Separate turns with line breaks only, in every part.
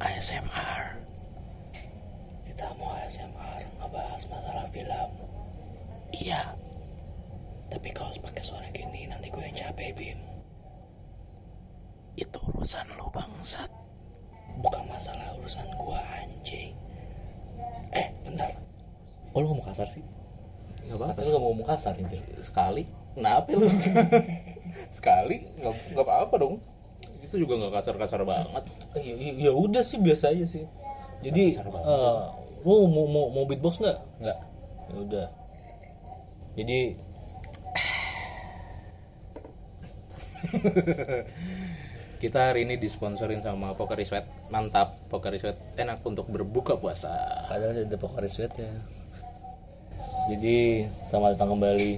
ASMR kita mau ASMR ngebahas masalah film iya tapi kalau harus pakai suara gini nanti gue yang capek Bim itu urusan lu bangsat bukan masalah urusan gua anjing eh bentar
Kok lu ngomong kasar sih?
nggak
Tapi lu gak mau ngomong kasar anjir Sekali
kenapa lu
Sekali Gak, gak apa-apa dong Itu juga gak kasar-kasar banget
Ya, ya- ya udah sih biasa aja sih. Jadi
Besar-besar banget.
eh, lu mau mau mau beatbox nggak?
Enggak
Ya udah. Jadi
Kita hari ini disponsorin sama Poker Sweat Mantap Poker Sweat enak untuk berbuka puasa
padahal ada pokari sweat ya. Jadi selamat datang kembali.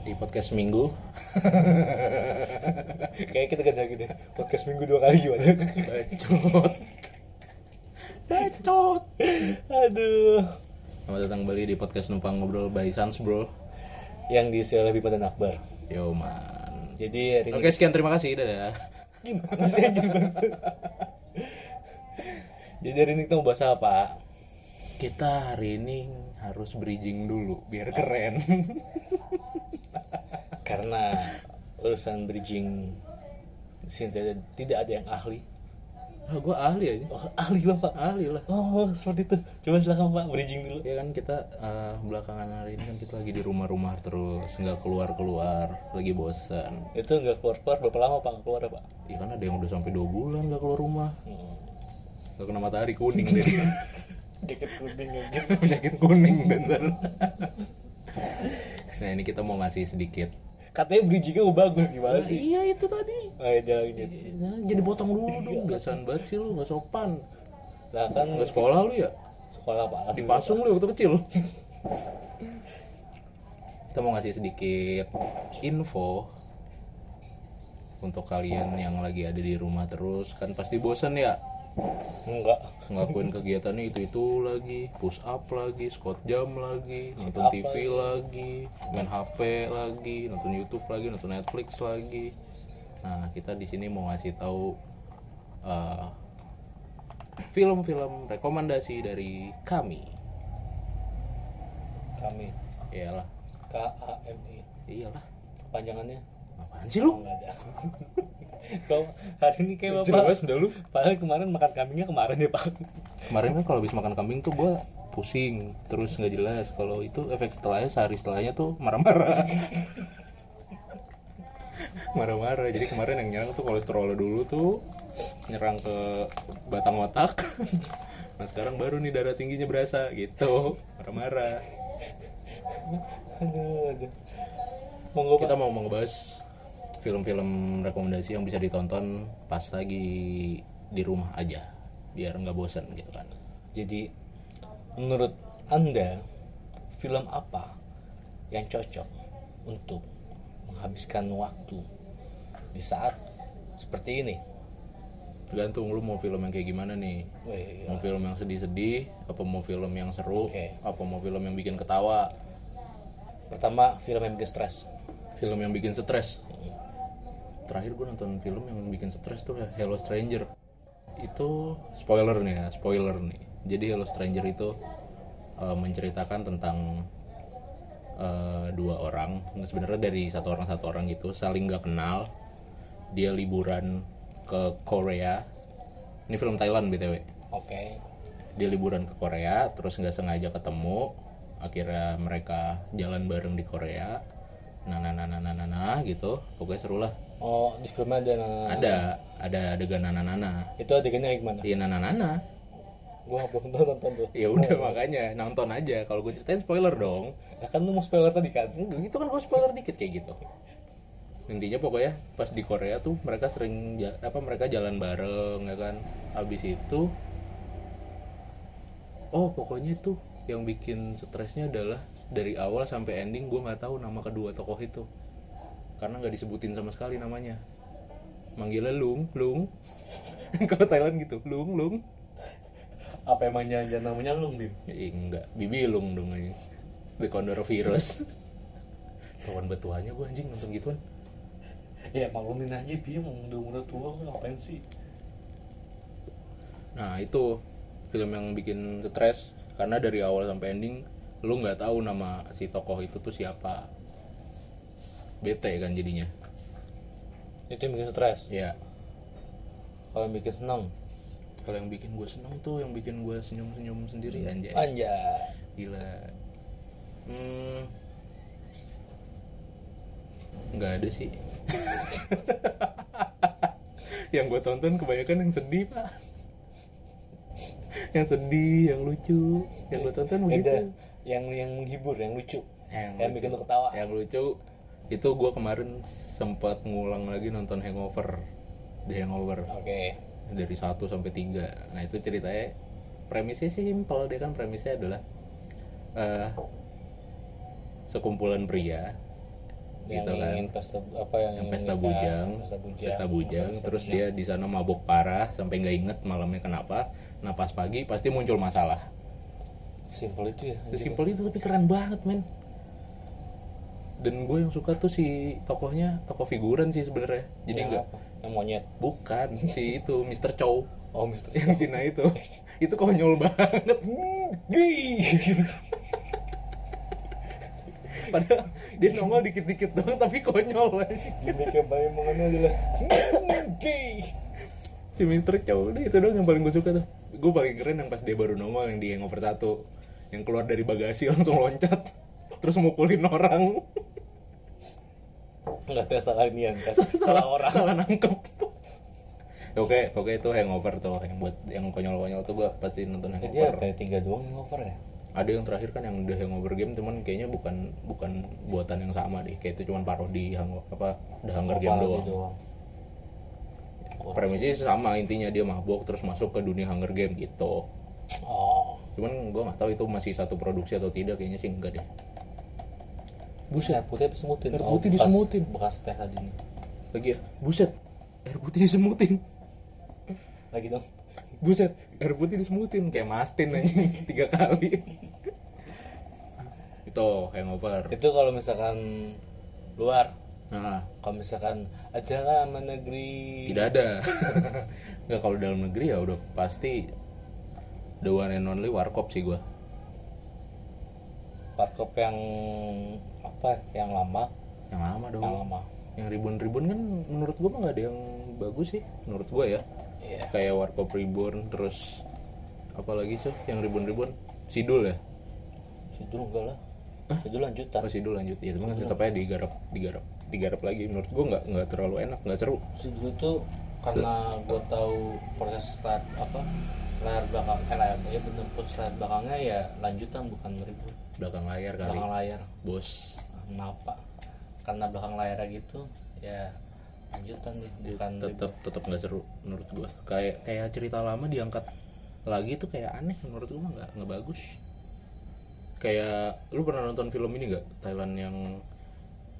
Di podcast minggu
Kayak kita kerja gitu ya. Podcast minggu dua kali gimana?
Bacot Bacot
Aduh.
Selamat datang kembali di podcast Numpang Ngobrol by Sans Bro
Yang diisi oleh Bima dan Akbar.
Yo man
Jadi hari ini
Oke sekian terima kasih Dadah
gimana sih anjir banget? Jadi hari ini kita mau bahas apa?
kita hari ini harus bridging dulu biar keren
Karena urusan bridging sini tidak tidak ada yang ahli.
ah, gue ahli aja
Oh, ahli bapak.
ahli lah
Oh, seperti itu. Coba silakan Pak bridging dulu.
ya kan kita eh, belakangan hari ini kan kita lagi di rumah-rumah terus nggak keluar-keluar lagi bosan
Itu nggak keluar-keluar berapa lama Pak nggak keluar ya, Pak?
ya kan ada yang udah sampai dua bulan nggak keluar rumah
Hmm.
nggak kena matahari kuning deh
Deket kuning aja.
penyakit kuning bener nah ini kita mau ngasih sedikit
Katanya bridgingnya mau bagus gimana sih?
iya itu tadi
Ayo jalan iya. jalan.
Ya, jadi potong dulu dong dasar banget sih lu nggak sopan
Lah kan
nggak sekolah lu ya
sekolah Pak.
dipasung lu ya waktu kecil kita mau ngasih sedikit info untuk kalian yang lagi ada di rumah terus kan pasti bosen ya
Enggak.
ngelakuin kegiatan itu itu lagi push up lagi squat jam lagi nonton
up
TV lagi main HP lagi nonton YouTube lagi nonton Netflix lagi nah kita di sini mau ngasih tahu eh, film-film rekomendasi dari kami
Kami
Iyalah,
K A M I.
iyalah.
Panjangannya
Apaan sih lu?
nggak ada. Kau hari ini kayak
Jelas
Bapak.
dah lu.
Padahal kemarin makan kambingnya kemarin ya Pak.
Kemarin kan kalau habis makan kambing tuh gua pusing, terus nggak jelas. Kalau itu efek setelahnya sehari setelahnya tuh marah-marah. marah-marah. Jadi kemarin yang nyerang tuh kolesterol dulu tuh nyerang ke batang otak. Nah sekarang baru nih darah tingginya berasa gitu marah-marah.
Aduh, aduh. Monggo Pak.
Kita mau ngebahas film-film rekomendasi yang bisa ditonton pas lagi di rumah aja biar nggak bosan gitu kan.
Jadi menurut Anda film apa yang cocok untuk menghabiskan waktu di saat seperti ini?
Tergantung lu mau film yang kayak gimana nih.
Wih,
Mau film yang sedih-sedih, apa mau film yang seru,
Iya. Oke.
apa mau film yang bikin ketawa,
pertama film yang bikin stres.
film yang bikin stres. Terakhir gue nonton film yang bikin stres tuh Hello Stranger. Itu spoiler nih ya, spoiler nih. Jadi Hello Stranger itu eh, menceritakan tentang eh, dua orang, Nggak, sebenarnya dari satu orang satu orang gitu, saling nggak kenal. Dia liburan ke Korea. Ini film Thailand btw.
Oke.
dia liburan ke Korea terus nggak sengaja ketemu akhirnya mereka jalan bareng di Korea nah nah nah nah nah nah, nah, gitu pokoknya seru lah
Oh, di filmnya ada nah,
ada ada adegan nana nana
itu adegannya kayak gimana?
iya nana nana
Gua belum tahu nonton tuh.
ya udah makanya nonton aja kalau gue ceritain spoiler dong
Nah, kan lu mau spoiler tadi kan?
Enggak, itu kan gue spoiler dikit kayak gitu intinya pokoknya pas di Korea tuh mereka sering ja- apa mereka jalan bareng ya kan habis itu oh pokoknya tuh yang bikin stresnya adalah dari awal sampai ending gue nggak tahu nama kedua tokoh itu karena nggak disebutin sama sekali namanya manggilnya lung lung kalau Thailand gitu lung lung
Apa emangnya aja namanya lu, Bim?
Eh, enggak, bibilung dong aja. The Condor Virus. Tawan betuanya gue anjing nonton gituan.
Eh, Ya maklumin aja Bim, udah umur tua ngapain sih?
Nah itu film yang bikin stres karena dari awal sampai ending lu nggak tahu nama si tokoh itu tuh siapa. Bete kan jadinya.
itu yang bikin stres
Ya.
kalau yang bikin seneng
Kalau yang bikin gue seneng tuh yang bikin gue senyum-senyum sendiri
Eh.
anjay.
anjay
Gila. Hmm. Nggak ada sih. yang gue tonton kebanyakan yang sedih pak. yang sedih, yang lucu, yang gue tonton begitu.
Beda. yang yang menghibur yang lucu yang, bikin
lucu-
tuh ketawa
Yang lucu itu gue kemarin sempat ngulang lagi nonton Hangover di Hangover
oke
dari 1 sampai 3 nah itu ceritanya premisnya sih simpel dia kan premisnya adalah eh sekumpulan pria
yang
gitu kan
ingin pesta apa yang,
yang
ingin
pesta
nikah,
bujang,
pesta bujang
pesta bujang, terus dia di sana mabuk parah sampai nggak inget malamnya kenapa. Nah pas pagi pasti muncul masalah.
simpel itu ya
Sesimpel itu tapi keren banget men. Dan gue yang suka tuh si tokohnya tokoh figuran sih sebenarnya. Jadi
yang
nggak
apa? yang monyet
bukan si itu Mr. Chow.
oh mister
yang Cina itu itu konyol banget padahal dia nongol dikit-dikit doang tapi konyol aja.
gimmick yang paling mengenal adalah gay
si Mister Chow udah itu doang yang paling gue suka tuh gue paling keren yang pas dia baru nongol yang di hangover satu yang keluar dari bagasi langsung loncat terus mukulin orang
nggak tes salah ini ya, tes salah orang
salah nangkep oke oke itu hangover tuh yang buat yang konyol-konyol tuh gue pasti nonton
Jadi dia
hangover
kayak tiga doang yang over ya
ada yang terakhir kan yang The Hangover Game cuman kayaknya bukan bukan buatan yang sama deh kayak itu cuman parodi hango, apa The Hunger Game
Parodi
doang premisnya sih sama intinya dia mabok terus masuk ke dunia Hunger Game gitu
oh
cuman gua nggak tahu itu masih satu produksi atau tidak kayaknya sih enggak deh
buset air putih apa semutin
Air
Oh,
putih
bekas-
disemutin.
bekas teh tadi nih
lagi ya buset air putih disemutin
lagi dong
buset air putih disemutin kayak mastin aja tiga kali itu hangover
itu kalau misalkan luar
nah
kalau misalkan acara sama negeri
tidak ada nggak kalau dalam negeri ya udah pasti the one and only warkop sih gua
parkop yang apa yang lama
yang lama dong
yang lama
yang ribbon-ribbon kan menurut gua mah nggak ada yang bagus sih menurut gua ya
iya
kayak warkop ribbon terus apalagi sih yang ribbon-ribbon sidul ya
sidul enggak lah sidul lanjutan
oh sidul lanjut ya tapi kan tetap aja digarap digarap digarap lagi menurut gua nggak nggak terlalu enak nggak seru
sidul itu karena gue tahu proses start apa layar belakang eh layar ya bener proses layar belakangnya ya lanjutan bukan ribut
belakang layar kali
belakang layar
bos
Nah, kenapa karena belakang layar gitu ya lanjutan deh bukan ribut.
tetap tetap nggak seru menurut gua kayak kayak cerita lama diangkat lagi tuh kayak aneh menurut gua mah nggak nggak bagus kayak lu pernah nonton film ini nggak Thailand yang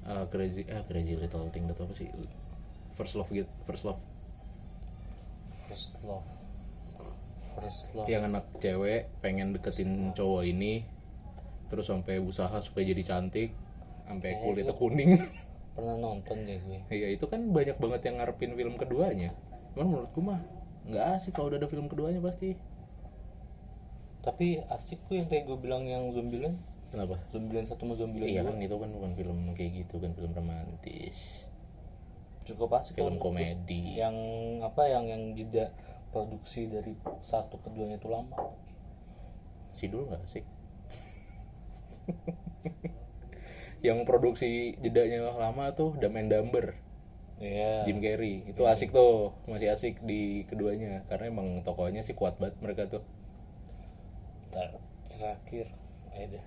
uh, crazy eh crazy little thing atau apa sih first love gitu first love
first love first love
yang anak cewek pengen deketin cowok ini terus sampai usaha supaya jadi cantik sampai kulitnya kuning
pernah nonton deh gue
ya itu kan banyak banget yang ngarepin film keduanya cuman menurut gua mah nggak asik kalau udah ada film keduanya pasti
tapi asik gue yang kayak gue bilang yang zombieland
kenapa
zombieland satu sama zombieland
Iya
dua
kan itu kan bukan film kayak gitu kan film romantis,
cukup asik
film
kalau menurut gue.
komedi.
yang apa yang yang jeda produksi dari satu keduanya itu lama
Sidul nggak asik. yang produksi jedanya lama tuh Dumb and Dumber,
iya
Jim Carrey. Itu asik tuh, masih asik di keduanya karena emang tokohnya sih kuat banget mereka tuh.
ter- terakhir ayo deh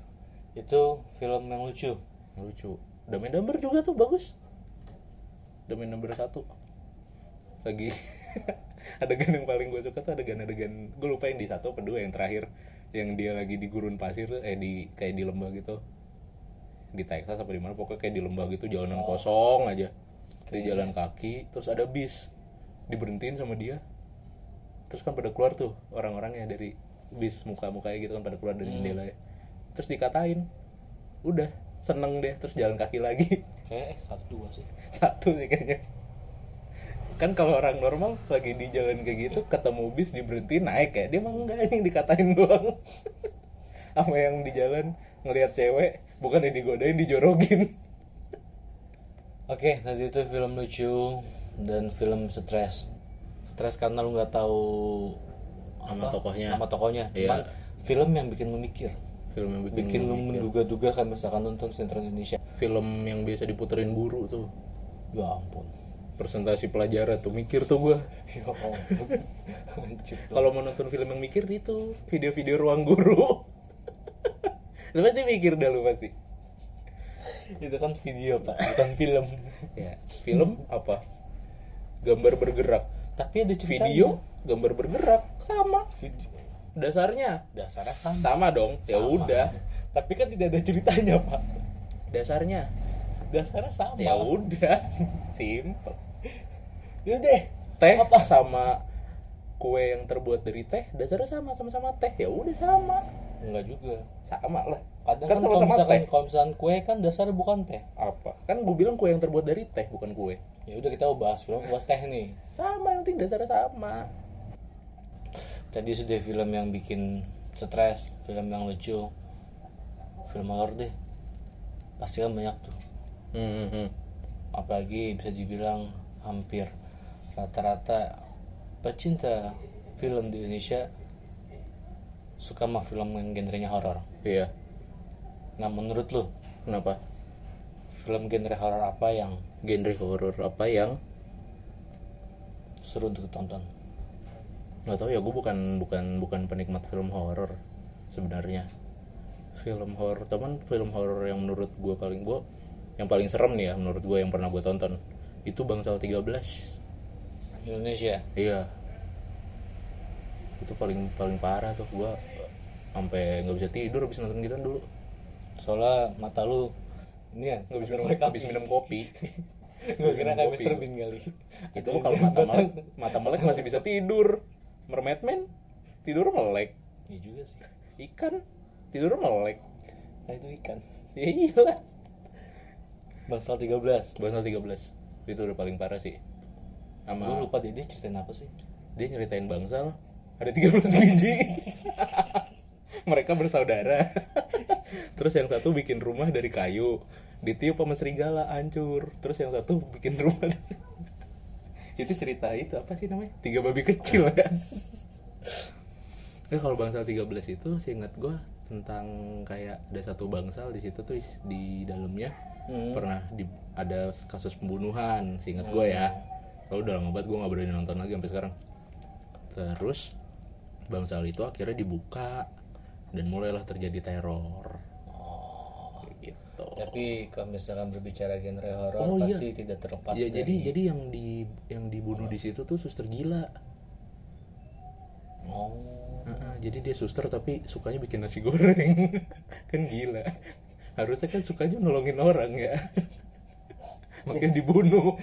itu film yang lucu
Lucu. Dumb and Dumber juga tuh bagus. Dumb and Dumber 1. Lagi adegan yang paling gue suka tuh adegan-adegan gue lupa yang di satu apa dua yang terakhir yang dia lagi di gurun pasir tuh, eh di kayak di lembah gitu di Texas apa di mana pokoknya kayak di lembah gitu jalanan kosong aja dia jalan kaki terus ada bis diberhentiin sama dia terus kan pada keluar tuh orang-orangnya dari bis muka-mukanya gitu kan pada keluar dari jendela ya terus dikatain udah seneng deh terus jalan kaki lagi
kayak eh, satu dua sih
satu sih kayaknya kan kalau orang normal lagi di jalan kayak gitu ketemu bis diberhenti naik ya dia mah enggak yang dikatain doang sama yang di jalan ngelihat cewek bukan yang digodain dijorokin
Oke, tadi itu film lucu dan film stres. Stres karena lu nggak tahu
Sama tokohnya.
Nama tokohnya. Cuman
Iya.
film yang bikin lu mikir,
film yang bikin,
bikin lu menduga-duga kan misalkan nonton sinetron Indonesia.
film yang biasa diputerin guru tuh
Ya ampun.
presentasi pelajaran tuh mikir tuh gua
Ya ampun. Hancur.
kalau mau nonton film yang mikir itu video-video ruang guru lu pasti mikir dah lu pasti
itu kan video, Pak, bukan film.
ya film apa gambar bergerak
Tapi ada Hmm. ceritanya.
video gambar bergerak sama
Video.
dasarnya
Dasarnya sama.
sama dong ya udah
Tapi kan tidak ada ceritanya, Pak.
dasarnya
Dasarnya sama.
ya udah simple
Yaudah deh.
teh sama kue yang terbuat dari teh dasarnya sama sama-sama teh ya udah sama
Enggak juga.
sama lah
Kadang
kan
kan,
kalau
kalau
sama
misalkan,
teh
kalau misalkan kue kan dasarnya bukan teh.
apa kan gue bilang kue yang terbuat dari teh bukan kue
Ya udah kita bahas film bahas teh nih.
sama yang penting dasarnya sama
Tadi sudah film yang bikin stres, film yang lucu, film horor deh. Pasti kan banyak tuh.
hmm, hmm.
Apalagi bisa dibilang hampir rata-rata pecinta film di Indonesia suka sama film yang genrenya horor.
iya
Nah menurut lu
kenapa
film genre horor apa yang
genre horor apa yang
seru untuk ditonton?
nggak tahu ya gue bukan bukan bukan penikmat film horor sebenarnya film horor teman film horor yang menurut gue paling gue yang paling serem nih ya menurut gue yang pernah gue tonton itu bangsal 13
Indonesia.
iya itu paling paling parah tuh gue sampai nggak bisa tidur habis nonton gitu dulu
Soalnya mata lu ini ya
nggak bisa minum habis minum kopi
Gue kira kayak
kopi.
Mr. Bean kali
itu mah kalau mata melek mata melek masih bisa tidur mermaid man tidur melek
Iya juga sih
ikan tidur melek
Nah itu ikan
ya iyalah
Bangsal 13
Bangsal 13 Itu udah paling parah sih
Gue
Sama
lupa deh dia ceritain apa sih
Dia nyeritain Bangsal Ada 13 biji Mereka bersaudara Terus yang satu bikin rumah dari kayu Ditiup sama serigala hancur Terus yang satu bikin rumah dari- Itu cerita itu apa sih namanya Tiga babi kecil ya Nah, kalau bangsal 13 itu seingat gua tentang kayak ada satu bangsal di situ tuh is- di dalamnya pernah di, ada kasus pembunuhan seingat gua ya. Kalau udah lama banget gua nggak berani nonton lagi sampai sekarang. Terus bangsal itu akhirnya dibuka dan mulailah terjadi teror. Oh, gitu.
Tapi kalau misalkan berbicara genre horor
Oh, iya.
Pasti tidak terlepas
Ya
dari-
jadi jadi yang di yang dibunuh di situ tuh suster gila.
Oh
Heeh, jadi dia suster tapi sukanya bikin nasi goreng kan gila harusnya kan sukanya nolongin orang ya makanya dibunuh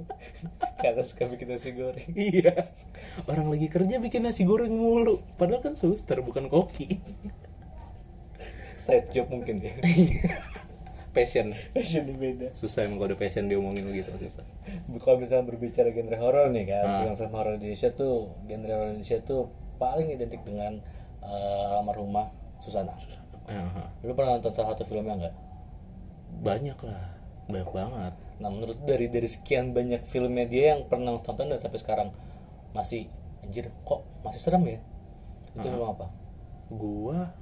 Karena suka bikin nasi goreng
iya orang lagi kerja bikin nasi goreng mulu padahal kan suster bukan koki
Side job mungkin ya
passion
Passionnya beda
susah emang kalau ada passion diomongin gitu susah
Kalau misalkan berbicara genre horor nih kan
Ah.
Film-film horor Indonesia tuh Genre horor Indonesia tuh Paling identik dengan eh, Almarhumah Susana
Aha.
Lu pernah nonton salah satu filmnya nggak?
banyak lah banyak banget
Nah menurut dari dari sekian banyak filmnya dia yang pernah lu tonton dan sampai sekarang masih anjir kok masih serem ya? Itu film apa?
gua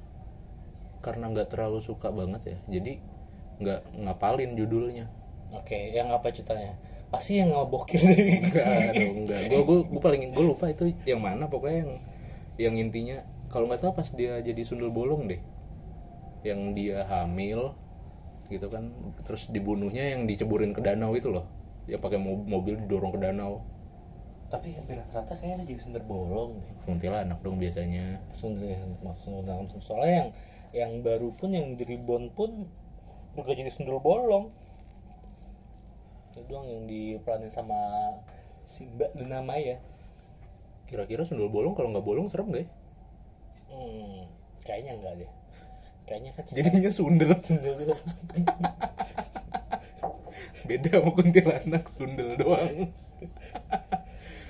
karena nggak terlalu suka banget ya jadi nggak ngapalin judulnya
Oke, yang apa ceritanya? Pasti yang ngebokin deh.
enggak dong enggak gue gue paling gue lupa itu yang mana pokoknya yang yang intinya kalau nggak salah pas dia jadi sundel bolong deh yang dia hamil gitu kan terus dibunuhnya yang diceburin ke danau itu loh dia pakai mo- mobil didorong ke danau
Tapi hampir rata-rata kayaknya jadi sundel bolong deh. ya,
kuntilanak dong biasanya
Sundel maksudnya soalnya yang yang baru pun yang di reborn pun bukan jadi sundel bolong. Itu doang yang diperanin sama si Mbak Luna Maya.
kira-kira sundel bolong kalau nggak bolong serem gak ya
Hmm, kayaknya enggak deh. Kayaknya kan
jadinya sundel
sundel bolong.
beda sama kuntilanak sundel doang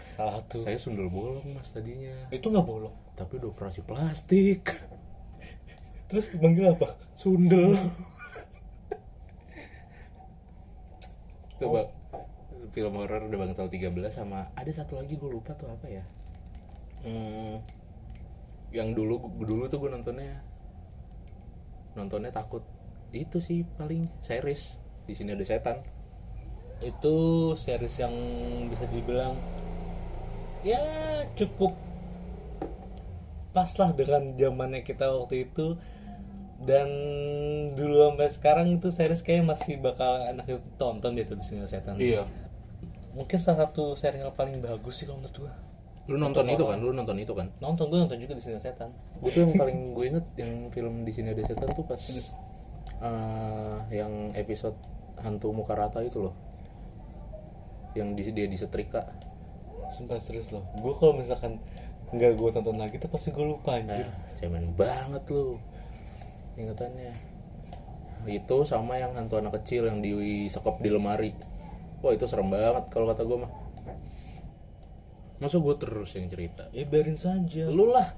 Satu.
Saya sundel bolong mas tadinya,
Itu nggak bolong.
tapi udah operasi plastik.
Terus dipanggil apa?
Sundel. Coba film horor The Bangsal 13 sama ada satu lagi gue lupa tuh apa ya. Hmm, yang dulu dulu tuh gue nontonnya nontonnya takut itu sih paling series di sini ada setan
Itu series yang bisa dibilang ya cukup pas lah dengan zamannya kita waktu itu dan dulu sampai sekarang itu series kayak masih bakal enak ditonton deh tuh di sini setan.
Iya.
Mungkin salah satu serial paling bagus sih kalau menurut gua.
lu nonton itu kan lu nonton itu kan
Nonton gua nonton juga di sini setan.
gue tuh yang paling gue inget yang film di sini ada setan tuh pas eh, yang episode hantu muka rata itu loh yang di, dia disetrika
Sumpah serius loh. Gue kalau misalkan nggak gue tonton lagi tuh pasti gue lupa anjir.
ah, cemen banget lu ingetannya itu sama yang hantu anak kecil yang disekap di lemari wah itu serem banget kalau kata gue mah masa gue terus yang cerita
Ya biarin saja.
lu lah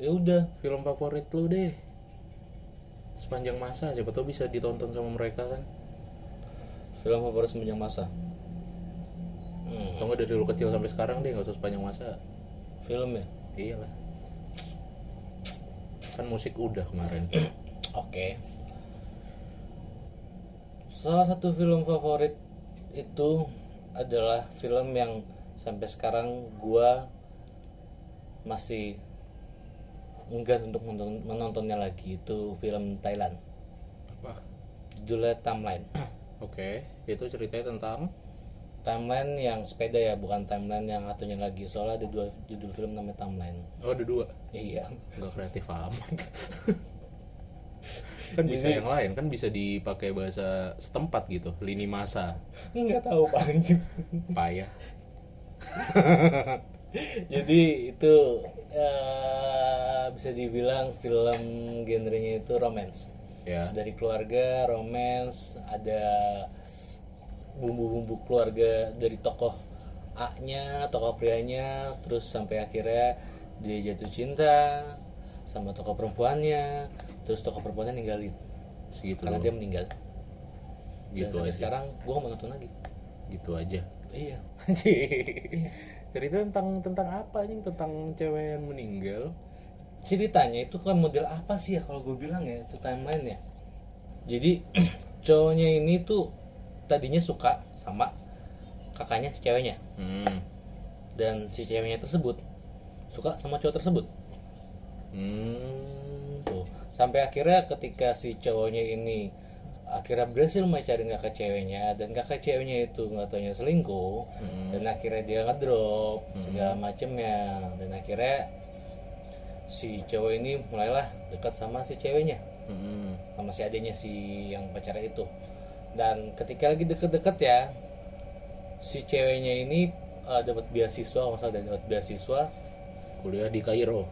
Ya udah.
film favorit lu deh sepanjang masa siapa tau bisa ditonton sama mereka kan
Film favorit sepanjang masa.
Atau nggak dari lu kecil sampai sekarang deh nggak usah sepanjang masa
Film ya.
iyalah kan musik udah kemarin
Oke. Salah satu film favorit itu adalah film yang sampai sekarang gua masih enggan untuk menonton- menontonnya lagi itu film Thailand
apa
judulnya Timeline
oke itu ceritanya tentang
timeline yang sepeda ya bukan timeline yang satunya lagi soalnya ada dua judul film namanya timeline
oh ada dua
iya
nggak kreatif amat kan bisa yang lain kan bisa dipakai bahasa setempat gitu lini masa
nggak tahu pak anjing.
payah
jadi itu eh, bisa dibilang film genrenya itu romance
ya
dari keluarga romance ada bumbu-bumbu keluarga dari tokoh A-nya, tokoh prianya, terus sampai akhirnya dia jatuh cinta sama tokoh perempuannya, terus tokoh perempuannya ninggalin
segitu
karena
doang.
dia meninggal. Dan
gitu
sampai
aja
sekarang gua nggak mau nonton lagi.
gitu aja
Iya.
cerita tentang tentang apa anjing tentang cewek yang meninggal
Ceritanya itu kan model apa sih ya kalau gue bilang ya itu timeline ya. Jadi cowoknya ini tuh tadinya suka sama kakaknya si ceweknya.
hmm.
dan si ceweknya tersebut suka sama cowok tersebut
Hmm.
tuh sampai akhirnya ketika si cowoknya ini akhirnya berhasil mencari kakak ceweknya dan kakak ceweknya itu nggak taunya selingkuh dan akhirnya dia ngedrop segala macemnya dan akhirnya si cowok ini mulailah dekat sama si ceweknya
Hmm.
sama si adiknya si yang pacarnya itu dan ketika lagi deket-deket ya si ceweknya ini eh, dapat beasiswa kalau nggak salah dapat beasiswa
Kuliah di Kairo.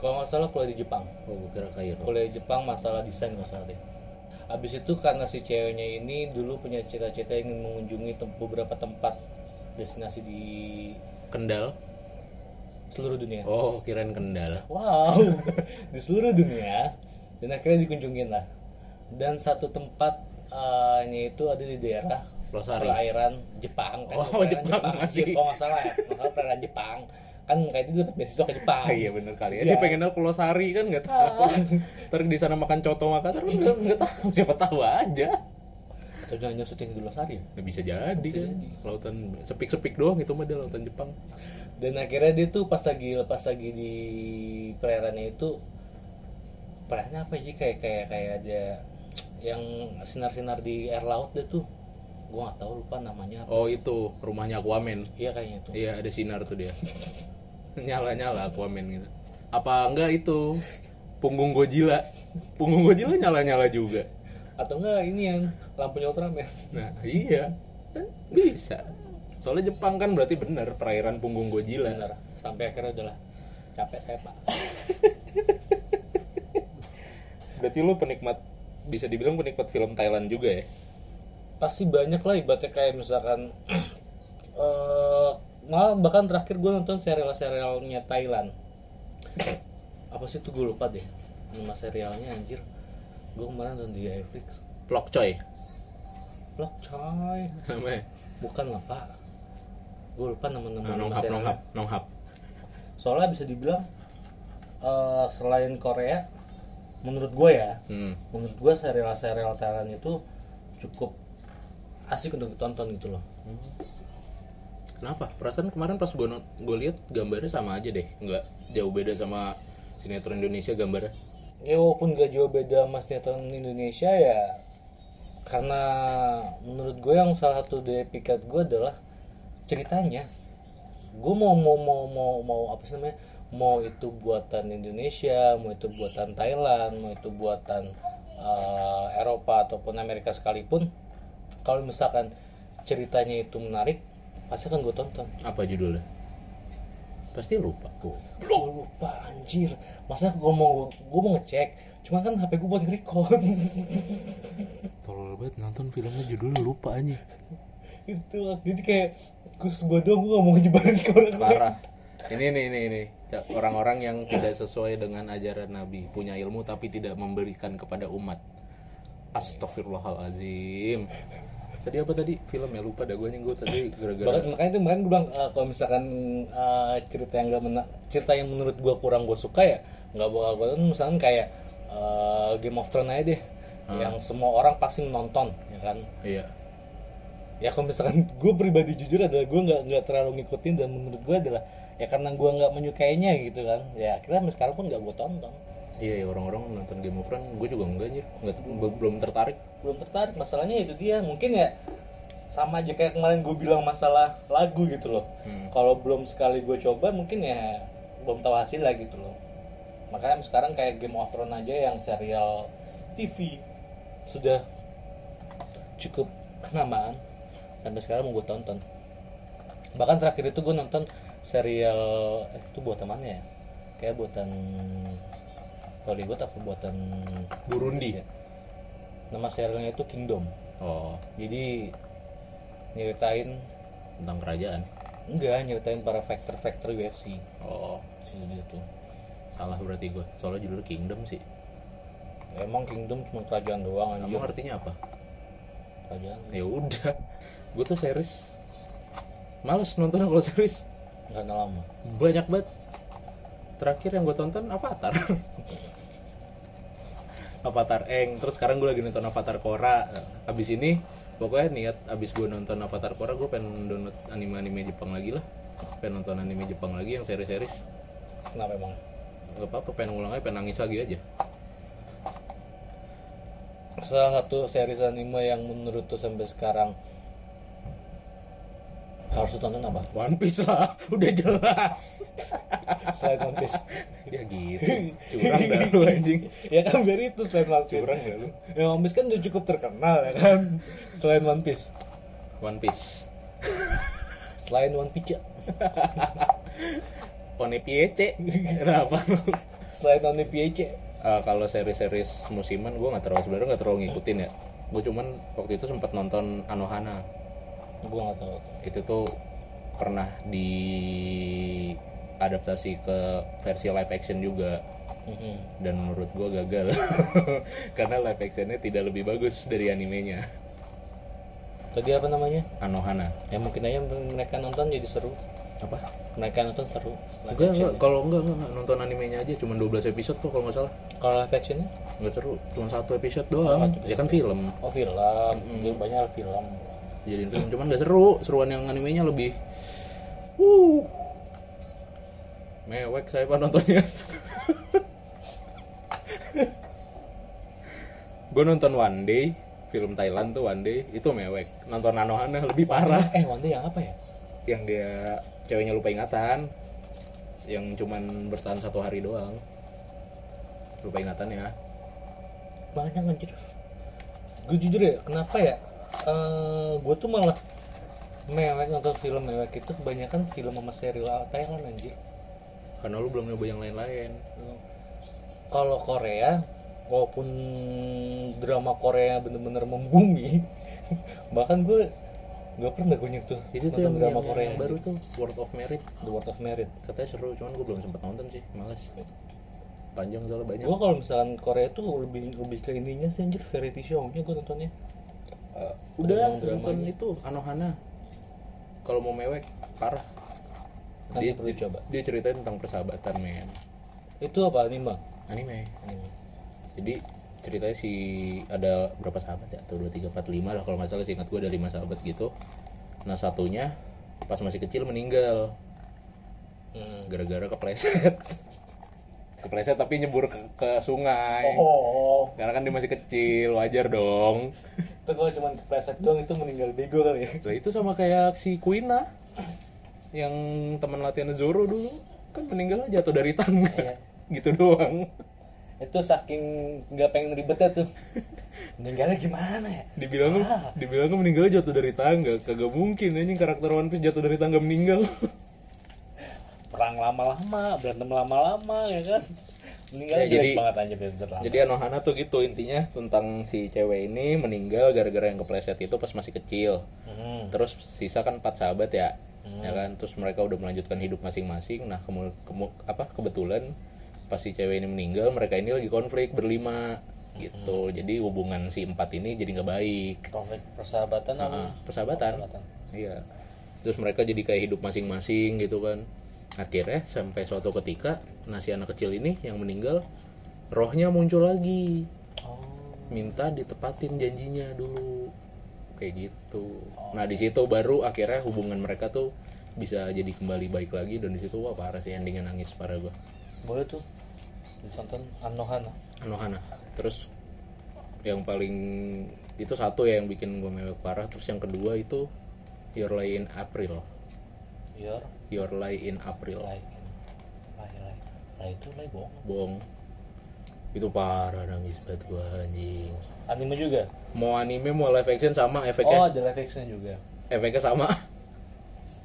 kalau nggak salah kuliah di Jepang
Oh, gue kira Kairo.
kuliah di Jepang masalah desain kalau nggak salah deh habis itu karena si ceweknya ini dulu punya cita-cita ingin mengunjungi tem- beberapa tempat destinasi di
Kendal.
seluruh dunia
Oh, kirain Kendal.
wow di seluruh dunia dan akhirnya dikunjungin lah dan satu tempatnya itu ada di daerah
Losari.
perairan Jepang kan
Oh,
perairan
Jepang masih.
Jepang nggak salah ya nggak salah perairan Jepang kan kayak itu dapat beasiswa ke Jepang
Ah, iya bener kali ya. Dia pengen ke Losari kan nggak tahu. Ntar di sana makan coto Makassar kan nggak nggak tahu. Siapa tahu aja.
atau jangan jangan syuting di Losari ya?
Nggak bisa jadi kan. Lautan sepik-sepik doang itu mah dia lautan Jepang.
dan akhirnya dia tuh pas lagi lepas lagi di perairannya itu perairannya apa sih kayak kayak kayak ada yang sinar-sinar di air laut deh tuh gua nggak tahu lupa namanya apa
Oh, itu rumahnya Aquaman.
iya kayaknya itu
Iya, ada sinar tuh dia. Nyala-nyala Aquaman gitu. Apa enggak itu? Punggung Godzilla. Punggung Godzilla nyala-nyala juga.
atau enggak ini yang lampunya Ultraman
Nah iya kan bisa. Soalnya Jepang kan berarti bener perairan punggung Godzilla.
benar sampai akhirnya udahlah capek saya pak
Berarti lu penikmat bisa dibilang penikmat film Thailand juga ya?
pasti banyak lah ibaratnya kayak misalkan eh, malah bahkan terakhir gue nonton serial-serialnya Thailand apa sih tuh gue lupa deh nama serialnya anjir gue kemarin nonton di Netflix
Plok coy
Blok coy
namanya
bukan lah pak gue lupa
Nah,
nama-nama nama
nonghap
serialnya.
nonghap nonghap
soalnya bisa dibilang eh, selain Korea menurut gue ya
hmm.
menurut gue serial-serial Thailand itu cukup asik untuk ditonton gitu loh
Kenapa? Perasaan kemarin pas gue gue lihat gambarnya sama aja deh, nggak jauh beda sama sinetron Indonesia gambarnya.
ya walaupun gak jauh beda sama sinetron Indonesia ya karena menurut gue yang salah satu dari pikat gue adalah ceritanya gue mau mau mau mau mau apa sih namanya mau itu buatan Indonesia mau itu buatan Thailand mau itu buatan eh, Eropa ataupun Amerika sekalipun kalau misalkan ceritanya itu menarik pasti akan gue tonton
Apa judulnya? Pasti lupa gue.
Gue lupa anjir Masa gue mau, gue mau ngecek Cuma kan HP gue buat record
Tolol banget nonton filmnya judulnya lupa aja.
Itu Jadi kayak Khusus gue doang gue gak mau nyebarin ke orang lain
Parah. Ini nih nih nih Ca- orang-orang yang tidak sesuai dengan ajaran Nabi, punya ilmu tapi tidak memberikan kepada umat. Astagfirullahalazim. Tadi apa tadi film ya lupa dah gue nih gue tadi
Bahkan,
gara-gara
makanya itu makanya gue bilang eh, kalau misalkan eh, cerita yang gak mena- cerita yang menurut gue kurang gue suka ya nggak bakal gue tonton misalkan kayak eh, Game of Thrones aja deh yang semua orang pasti menonton ya kan
iya
ya kalau misalkan gue pribadi jujur adalah gue nggak nggak terlalu ngikutin dan menurut gue adalah ya karena gue nggak menyukainya gitu kan ya akhirnya sampai sekarang pun nggak gue tonton
Iya, ya, orang-orang nonton Game of Thrones, gue juga enggak anjir, enggak, be- belum tertarik.
belum tertarik masalahnya itu dia mungkin ya sama aja kayak kemarin gue bilang masalah lagu gitu loh kalau belum sekali gue coba mungkin ya belum tahu hasil lah gitu loh makanya sekarang kayak Game of Thrones aja yang serial TV sudah cukup kenamaan sampai sekarang mau gue tonton bahkan terakhir itu gue nonton serial eh, itu buatan mana ya kayak buatan Hollywood apa buatan
Burundi.
Indonesia. nama serialnya itu Kingdom
Iya. Oh,
jadi nyeritain
tentang kerajaan.
enggak nyeritain para factor-factor UFC
Oh,
Jadi itu
salah berarti gue. Soalnya judul Kingdom sih.
emang Kingdom cuma kerajaan doang
Kamu
anjir
artinya apa?
kerajaan
Ya udah. Gue tuh series. Males nonton kalau series.
karena lama
Banyak banget. Terakhir yang gue tonton Avatar. Avatar Eng. Terus sekarang gue lagi nonton Avatar Korra. Abis ini pokoknya niat abis gue nonton Avatar Korra gue pengen download anime-anime Jepang lagi lah. Pengen nonton anime Jepang lagi yang series-series.
kenapa emang
Gak apa-apa, pengen ulang aja, pengen nangis lagi aja.
salah satu series anime yang menurut tuh sampai sekarang harus ditonton apa
One Piece lah, udah jelas.
selain One Piece
ya gitu, curang dah lu anjing.
ya kan biar itu selain One Piece
Curang gak lu?
ya One Piece kan udah cukup terkenal ya kan selain One Piece
One Piece.
selain One Piece ya.
One Piece, kenapa lu?
selain One Piece ya.
Eh, kalau seri-series musiman gue nggak terlalu sebenarnya nggak terlalu ngikutin ya. Gue cuman waktu itu sempat nonton Anohana.
gue gak tau
Itu tuh pernah diadaptasi ke versi live action juga
Mhm.
dan menurut gue gagal karena live actionnya tidak lebih bagus dari animenya
tadi apa namanya
Anohana
ya mungkin aja mereka nonton jadi seru
apa
mereka nonton seru live
Enggak,
action
enggak. Kalau enggak, enggak, enggak. nonton animenya aja cuma 12 episode kok kalau nggak salah.
kalau live actionnya
Nggak seru, cuma satu episode doang. ya kan film.
oh film jadi banyak film
Jadiin film cuman nggak seru. Seruan yang animenya lebih
Wuh.
mewek saya pak nontonnya. gue nonton One Day, film Thailand tuh One Day, itu mewek. Nonton Anohana lebih parah.
eh Wanda yang apa ya
Yang dia ceweknya lupa ingatan, yang cuman bertahan satu hari doang. Lupa ingatan ya.
banyak anjir gue jujur ya kenapa ya Eh gue tuh malah mewek nonton film mewek itu kebanyakan film sama serial Thailand anjir
Karena lu belum nyoba yang lain-lain.
kalau Korea walaupun drama Korea bener-bener membumi bahkan gue Gak pernah gue nyentuh
itu tuh
nonton
yang,
drama
yang-
Korea
yang baru tuh World of Merit
The World of Merit
katanya seru cuman gue belum sempat nonton sih males panjang soalnya banyak
Gue Ya, kalau misalkan Korea tuh lebih lebih ke ininya sih anjir variety show-nya gue nontonnya
udah nonton itu Anohana kalau mau mewek parah
Nanti
Iya,
perlu coba.
dia ceritain tentang persahabatan men
Itu apa anime?
anime jadi ceritanya si ada berapa sahabat ya satu dua tiga empat lima lah kalau nggak salah seingat gue ada lima sahabat gitu nah satunya pas masih kecil meninggal Hmm, gara-gara kepleset kepleset tapi nyebur ke, ke sungai
Oh,
karena kan dia masih kecil wajar dong
itu kalau cuman kepleset doang itu meninggal bego kali ya.
Nah itu sama kayak si Quina yang teman latihan Zoro dulu kan meninggalnya jatuh dari tangga gitu doang
Itu saking nggak pengen ribetnya tuh. Meninggalnya gimana ya?
dibilang dibilang meninggalnya jatuh dari tangga kagak mungkin anjing karakter One Piece jatuh dari tangga meninggal
Perang lama-lama, berantem lama-lama ya kan. Meninggalnya
Ya,
jelek
jadi-
banget aja bener lama.
jadi Anohana tuh gitu intinya tentang si cewek ini meninggal gara-gara yang kepleset itu pas masih kecil
Hmm.
terus sisa kan empat sahabat ya ya kan terus mereka udah melanjutkan hidup masing-masing nah kemu, kemu- apa kebetulan pas si cewek ini meninggal mereka ini lagi konflik berlima gitu jadi hubungan si empat ini jadi nggak baik
Konflik persahabatan apa?
Ah, persahabatan. iya terus mereka jadi kayak hidup masing-masing gitu kan akhirnya sampai suatu ketika nah si anak kecil ini yang meninggal rohnya muncul lagi
Oh.
minta ditepatin janjinya dulu kayak gitu nah di situ baru akhirnya hubungan mereka tuh bisa jadi kembali baik lagi dan di situ wah parah sih endingnya nangis parah gua
Boleh tuh ditonton Anohana.
Anohana terus yang paling itu satu ya yang bikin gua mewek parah terus yang kedua itu Your Lie in April
Your
Your Lie in April
Lai Lai Lai Lai itu Lai bohong.
bohong itu parah nangis banget gua anjing
Anime juga?
mau anime mau live action sama
Oh
efeknya
ada live action juga.
efeknya sama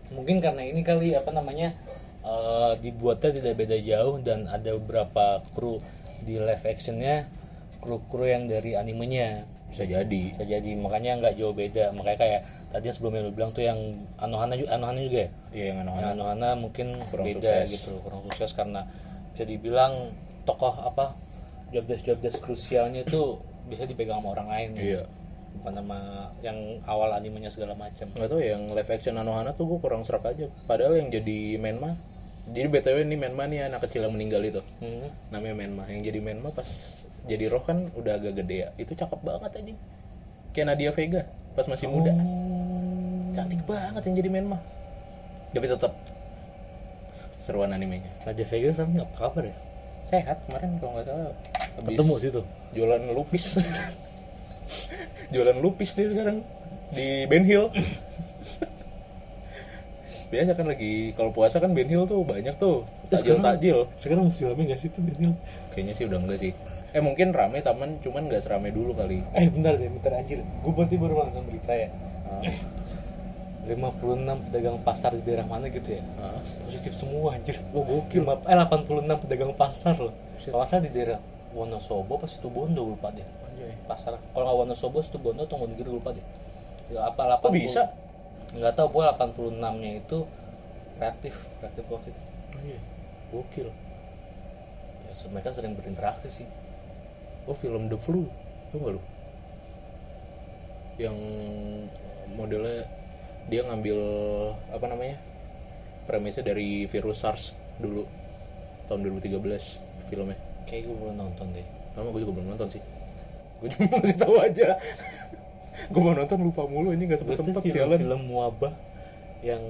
Mungkin karena ini kali apa namanya eh, dibuatnya tidak beda jauh dan ada beberapa kru di live actionnya kru-kru yang dari animenya
bisa jadi
bisa jadi makanya nggak jauh beda makanya kayak tadi yang sebelumnya lu bilang tuh yang Anohana juga Anohana juga ya
Iya yang Anohana
Yang Anohana mungkin
Kurang
beda
sukses.
gitu kurang sukses karena bisa dibilang tokoh apa job desk job desk krusialnya itu bisa dipegang sama orang lain
Iya.
bukan sama yang awal animenya segala macam
nggak tahu ya, yang live action Anohana tuh gue kurang serak aja padahal yang jadi Menma jadi btw ini Menma nih anak kecil yang meninggal itu
hmm.
namanya Menma yang jadi Menma pas jadi roh kan udah agak gede ya itu cakep banget aja kayak Nadia Vega pas masih muda cantik banget yang jadi Menma tapi tetap seruan animenya
Nadia Vega sama apa kabar ya
sehat kemarin kalau nggak salah habis
ketemu situ
jualan lupis jualan lupis dia sekarang di Ben Hill biasa kan lagi kalau puasa kan Ben Hill tuh banyak tuh takjil takjil
sekarang masih rame nggak sih tuh Daniel
kayaknya sih udah enggak sih eh mungkin rame taman cuman nggak serame dulu kali
eh bentar deh bentar anjir gue berarti baru nonton berita ya
Ah.
56 pedagang pasar di daerah mana gitu ya
Heeh.
positif semua anjir wah gokil Lima- eh 86 pedagang pasar loh kalau nggak salah di daerah Wonosobo pas itu Bondo gue lupa deh
Anjay.
pasar kalau nggak Wonosobo itu Bondo atau Wonogiri gue lupa deh ya, apa 80
Kok bisa?
nggak tahu gue 86 nya itu reaktif reaktif covid
gokil
Ya, mereka sering berinteraksi sih
oh film The Flu tuh nggak lu yang modelnya dia ngambil apa namanya premisnya dari virus SARS dulu tahun 2013 filmnya
kayak gue belum nonton deh
lama gue juga belum nonton sih gue cuma masih tahu aja gue mau nonton lupa mulu ini nggak sempet
Berarti
sempet
film,
sialan
film wabah yang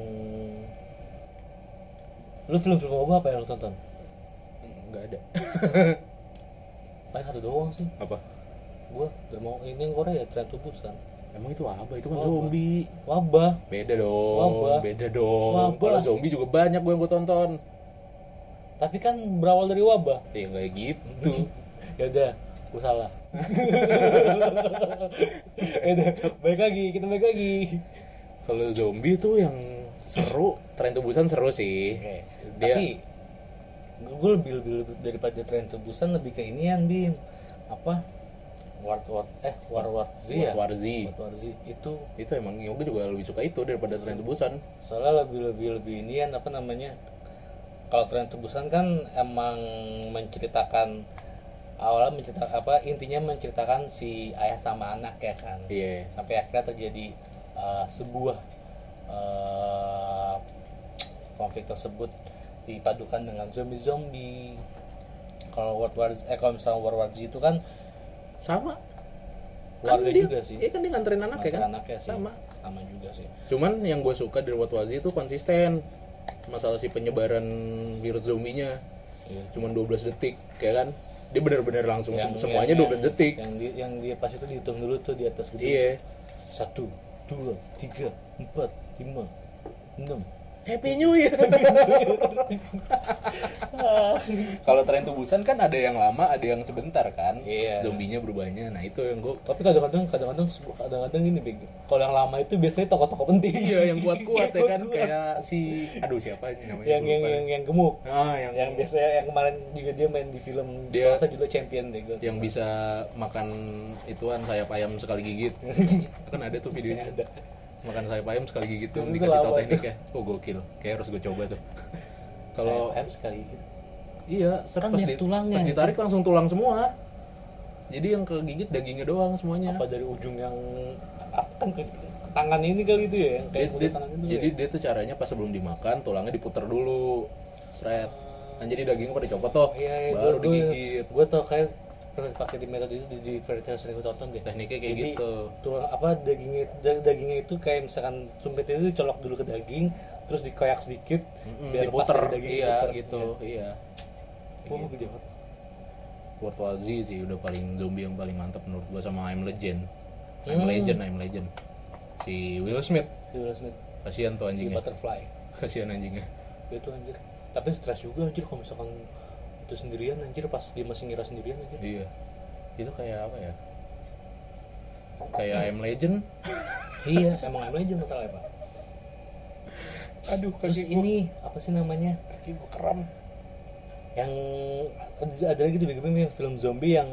lu film film wabah apa yang lu tonton?
nggak ada
Paling satu doang sih.
apa
Gue udah mau ini yang Korea tren tubusan.
emang itu apa itu kan zombie
Wabah.
beda dong
Wabah.
beda dong
Wabah.
kalau zombie juga banyak gue yang gue tonton
Tapi kan berawal dari wabah.
ya kayak gitu
ya udah, gue salah. ya udah, baik lagi, kita baik lagi.
Kalau zombie tuh yang seru, tren tubusan seru sih. Dia
Tapi gue lebih, lebih, lebih daripada tren tubusan lebih ke inian bim apa World War eh War War Z
World
ya
War Z.
World War Z itu
itu emang Yogi juga lebih suka itu daripada tren tebusan
soalnya lebih lebih lebih ini ya apa namanya kalau tren tebusan kan emang menceritakan awalnya menceritakan apa intinya menceritakan si ayah sama anak ya kan
iya
sampai akhirnya terjadi uh, sebuah uh, konflik tersebut dipadukan dengan zombie-zombie. Kalau World War Z- eh kalau misalnya World War Z itu kan
sama
keluarga
dia,
juga sih.
iya kan dia nganterin anak ya
Antar
kan
anaknya sih.
sama
Sama juga sih.
cuman yang gue suka dari Watwazi itu konsisten masalah si penyebaran virus zombinya
Iya.
cuman 12 detik kayak kan dia benar-benar langsung sem-
Yang-
semuanya
yang-
12 detik
Yang di, yang dia pas itu dihitung dulu tuh di atas gedung.
iya
Satu, dua, tiga, empat, lima, enam.
Happy New Year. Kalau tren tubusan kan ada yang lama, ada yang sebentar kan.
Iya.
Zombinya berubahnya. Nah, itu yang gue
Tapi kadang-kadang kadang-kadang kadang-kadang ini Bego. Kalau yang lama itu biasanya tokoh-tokoh penting.
Iya, yang kuat-kuat ya kan kayak si aduh siapa namanya?
yang
Gua
yang
lupa.
yang yang gemuk
ah, yang
yang biasanya yang kemarin juga dia main di film
Dia-
masa juga champion deh gue
yang bisa makan ituan sayap ayam sekali gigit. kan ada tuh videonya. Ada. Makan sayap ayam sekali gigit tuh
Itu
dikasih tau
lama
teknik ya. Oh, gokil. Kayak harus gue coba tuh. Kalau
M sekali gitu
Iya, set
Kan
pas,
biar
di-
tulangnya.
pas ditarik langsung tulang semua. Jadi yang kegigit dagingnya doang semuanya.
apa dari ujung yang apa kan ke, ke tangan ini kali itu ya yang kayak
Dia-
mulut
dia-
tangan itu ya?
jadi dia tuh caranya pas sebelum dimakan tulangnya diputer dulu, seret. Kan jadi dagingnya pada copot toh,
ya, ya,
baru
gue,
digigit.
gue tau kayak pernah pakai di metode itu di, di variety yang sering gue tonton deh
Tekniknya kayak
Jadi,
gitu.
tulang apa dagingnya da- dagingnya itu kayak misalkan sumpitnya itu dicolok dulu ke daging terus dikoyak sedikit
Mm,
biar pas
diputer,
dari daging
iya
diputer.
gitu, iya.
oh, gede banget
World War Z sih udah paling zombie yang paling mantap menurut gua sama I'm Legend. I'm
Hmm.
Legend, I'm Legend. Si Will Smith,
Si Will Smith,
kasihan tuh
si
anjingnya.
butterfly
Kasihan anjingnya.
Ya tuh anjir. Tapi stres juga anjir kalau misalkan itu sendirian anjir pas dia masih ngira sendirian anjir.
Iya. Itu kayak apa ya? Kayak I'm Legend.
iya, emang aneh aja masalahnya, Pak.
Aduh,
Terus ini apa sih namanya?
kaki gua kram.
Yang ada lagi tuh bagaimana yang film zombie yang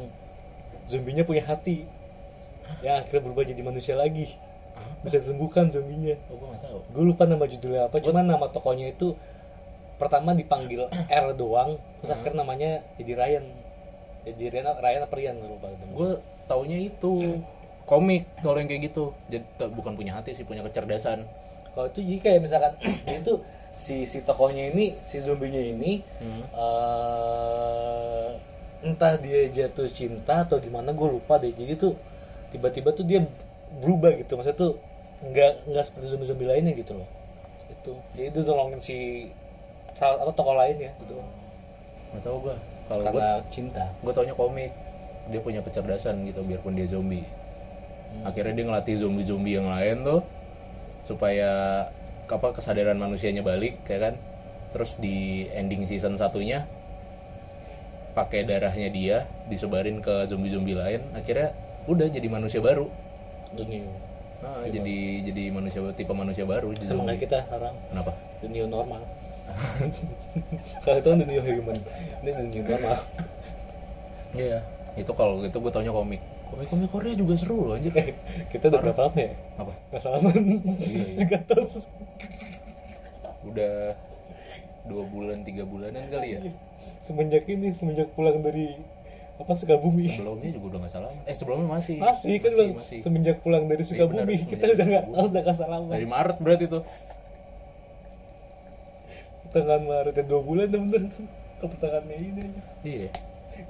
zombinya punya hati. Yang akhirnya berubah jadi manusia lagi. Bisa disembuhkan zombinya.
Oh, gua gak tahu.
Gue lupa nama judulnya apa, cuman nama tokonya itu pertama dipanggil R doang, terus akhirnya namanya jadi Ryan. Jadi Ryan, Ryan apa Ryan Gua lupa ketemu.
Gua taunya itu komik kalau yang kayak gitu. Jadi t- bukan punya hati sih, punya kecerdasan.
Kalau itu jadi kayak misalkan dia itu si si tokohnya ini, si zombinya ini eh, entah dia jatuh cinta atau gimana gue lupa deh. Jadi tuh tiba-tiba tuh dia berubah gitu. Maksudnya tuh nggak nggak seperti zombie-zombie lainnya gitu loh. Itu. Jadi itu tolongin si salah apa tokoh lain ya gitu.
Gak tahu gua. Kalau gua
Karena cinta.
gua taunya komik. Dia punya kecerdasan gitu biarpun dia zombie. Akhirnya dia ngelatih zombie-zombie yang lain tuh supaya apa kesadaran manusianya balik ya kan. Terus di ending season satunya pakai darahnya dia disebarin ke zombie-zombie lain akhirnya udah jadi manusia baru
Dunia.
Ah, jadi jadi manusia tipe manusia baru jadi
Sama kayak
zombie.
kita sekarang
Kenapa?
dunia normal. Kalau itu kan dunia human, ini dunia normal.
Iya, itu kalau gitu gue taunya komik. Komik-komik Korea juga seru loh anjir.
Kita udah berapa lama ya?
Apa?
Gak salaman Gak tau sus-
Udah dua bulan tiga bulanan kali ya
Semenjak ini Semenjak pulang dari Apa Sukabumi
sebelumnya juga udah nggak salah eh sebelumnya masih
Iya. Masih kan bang
masih.
Semenjak pulang dari
benar,
Sukabumi Iya.
semenjak
Kita udah gak
Sukabumi.
tau Udah gak salaman
dari Maret berarti tuh
Pertengahan Maret ya 2 bulan dah bener Ke pertengahannya ini aja.
iya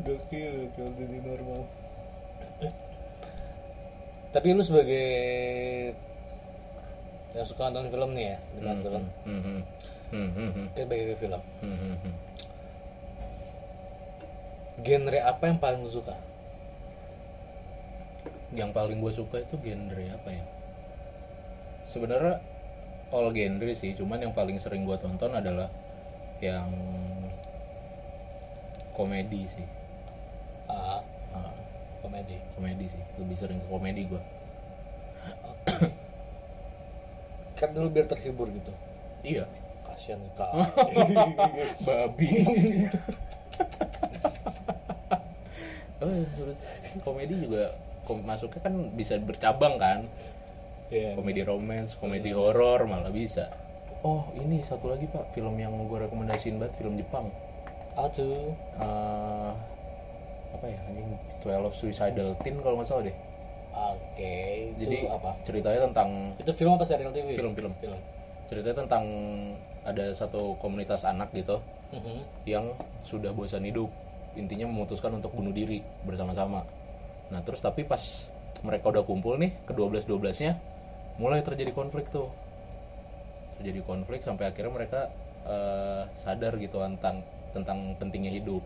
Gokil Kalau jadi normal Tapi lu sebagai Yang suka nonton film nih ya Dengan film
Hmm, hmm. Hmm, hmm, hmm.
Kayak bagi film
Hmm, hmm, hmm.
Genre apa yang paling lu suka?
yang paling gue suka itu genre apa ya sebenarnya all genre sih cuman yang paling sering gue tonton adalah yang komedi sih
Ah, komedi
komedi sih lebih sering ke komedi gue
Kan dulu biar terhibur gitu
iya
kasihan sekali
babi Eh, terus komedi juga kom masuknya kan bisa bercabang kan
Iya.
komedi romance komedi horor malah bisa Iya. oh ini satu lagi pak film yang gue rekomendasiin banget film Jepang
Apa tuh?
Eh, apa ya anjing Twelve Suicidal Teen kalau nggak salah deh
Oke, itu
jadi
apa?
ceritanya tentang
Itu film apa serial TV?
film-film
Film.
ceritanya tentang ada satu komunitas anak gitu
Mhm.
yang sudah bosan hidup intinya memutuskan untuk bunuh diri bersama-sama nah terus tapi pas mereka udah kumpul nih ke 12 12 nya mulai terjadi konflik tuh terjadi konflik sampai akhirnya mereka eh, sadar gitu tentang tentang pentingnya hidup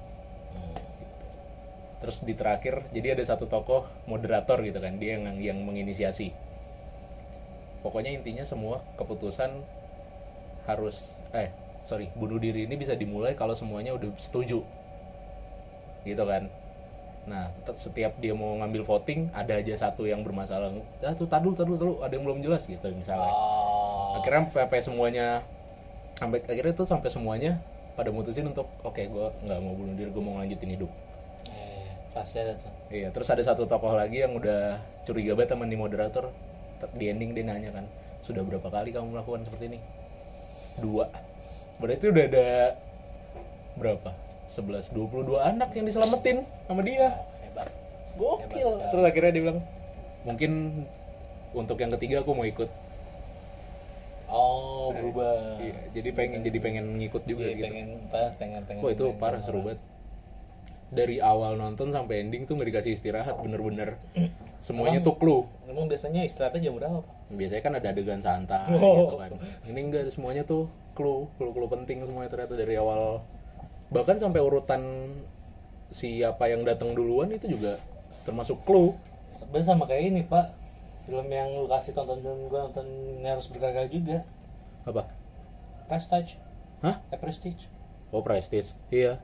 terus di terakhir jadi ada satu tokoh moderator gitu kan dia yang yang menginisiasi pokoknya intinya semua keputusan harus eh sorry bunuh diri ini bisa dimulai kalau semuanya udah setuju gitu kan nah te- setiap dia mau ngambil voting ada aja satu yang bermasalah ah tuh tadul tadul tadul ada yang belum jelas gitu misalnya
Oh,
akhirnya PP semuanya sampai akhirnya tuh sampai semuanya pada mutusin untuk oke gua gue nggak mau bunuh diri gue mau lanjutin hidup
eh, pasti ada tuh.
Iya, terus ada satu tokoh lagi yang udah curiga banget sama nih moderator. Ter- Di ending dia nanya kan, sudah berapa kali kamu melakukan seperti ini? Dua. Berarti udah ada berapa? 11, 22 anak yang diselamatin sama dia.
Hebat.
Gokil. Terus akhirnya dia bilang, mungkin untuk yang ketiga aku mau ikut.
Oh, berubah.
Iya, jadi pengen jadi pengen ngikut juga
Iya,
gitu.
pengen apa? Pengen pengen.
Wah itu parah seru banget. Dari awal nonton sampai ending tuh nggak dikasih istirahat, bener-bener semuanya tuh clue.
Emang biasanya istirahatnya jam berapa? Pak?
biasanya kan ada adegan santai gitu kan ini enggak semuanya tuh clue clue clue penting semuanya ternyata dari awal bahkan sampai urutan siapa yang datang duluan itu juga termasuk clue
Sebenarnya sama kayak ini pak. Film yang lu kasih tonton film gue nonton ini harus bergagal juga.
apa
Prestige.
hah
Eh, Prestige.
oh prestige iya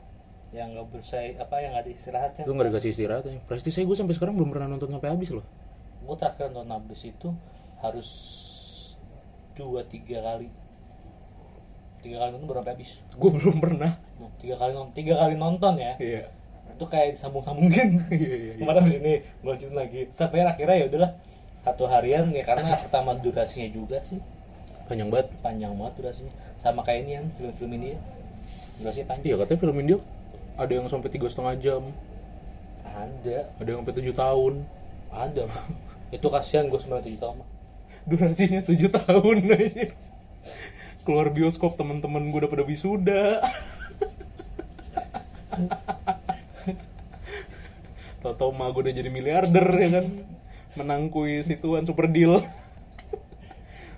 Yang nggak bersai apa yang nggak ada istirahatnya.
gue nggak dikasih istirahat ya. prestige saya gue sampai sekarang belum pernah nonton sampai habis loh
Gue terakhir nonton abis itu harus dua tiga kali. Tiga kali nonton baru sampai habis.
gue belum pernah
Nah, tiga kali nonton, tiga kali nonton ya.
iya
itu kayak disambung-sambungin
Iya, iya, iya.
kemarin di sini lanjut lagi sampai akhirnya ya udahlah satu harian ya karena pertama durasinya juga sih
panjang banget
panjang banget durasinya sama kayak ini yang film-film ini ya durasinya panjang
iya katanya film India ada yang sampai tiga setengah jam
ada
ada yang sampai tujuh tahun
ada Pak. itu kasihan gue sembilan tujuh tahun Pak.
durasinya 7 tahun aja keluar bioskop teman-teman gue udah pada wisuda Tau-tau mah gue udah jadi miliarder ya kan Menang kuis ituan super deal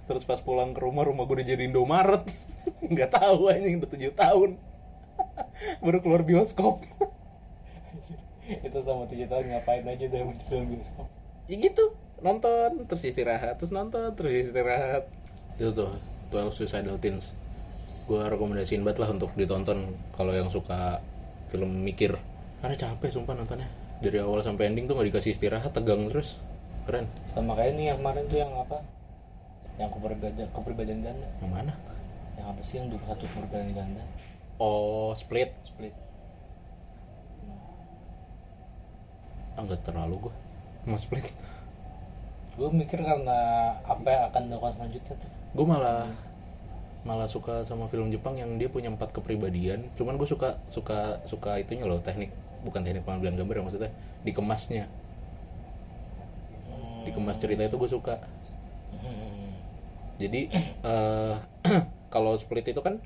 Terus pas pulang ke rumah, rumah gue udah jadi Indomaret Nggak tahu anjing udah 7 tahun Baru keluar bioskop
itu sama tujuh tahun ngapain aja dari muncul film bioskop
ya gitu nonton terus istirahat terus nonton terus istirahat itu tuh 12 Suicidal Teens gue rekomendasiin banget lah untuk ditonton kalau yang suka film mikir karena capek sumpah nontonnya dari awal sampai ending tuh gak dikasih istirahat tegang terus keren
sama kayak ini yang kemarin tuh yang apa yang kepribadian kepribadian ganda
yang mana
yang apa sih yang dua satu kepribadian ganda
oh split
split
ah nggak terlalu gue sama split
gue mikir karena apa yang akan dilakukan selanjutnya tuh
gue malah malah suka sama film Jepang yang dia punya empat kepribadian cuman gue suka suka suka itunya loh teknik bukan teknik pengambilan gambar ya, maksudnya dikemasnya dikemas cerita itu gue suka
Hmm.
jadi eh, kalau split itu kan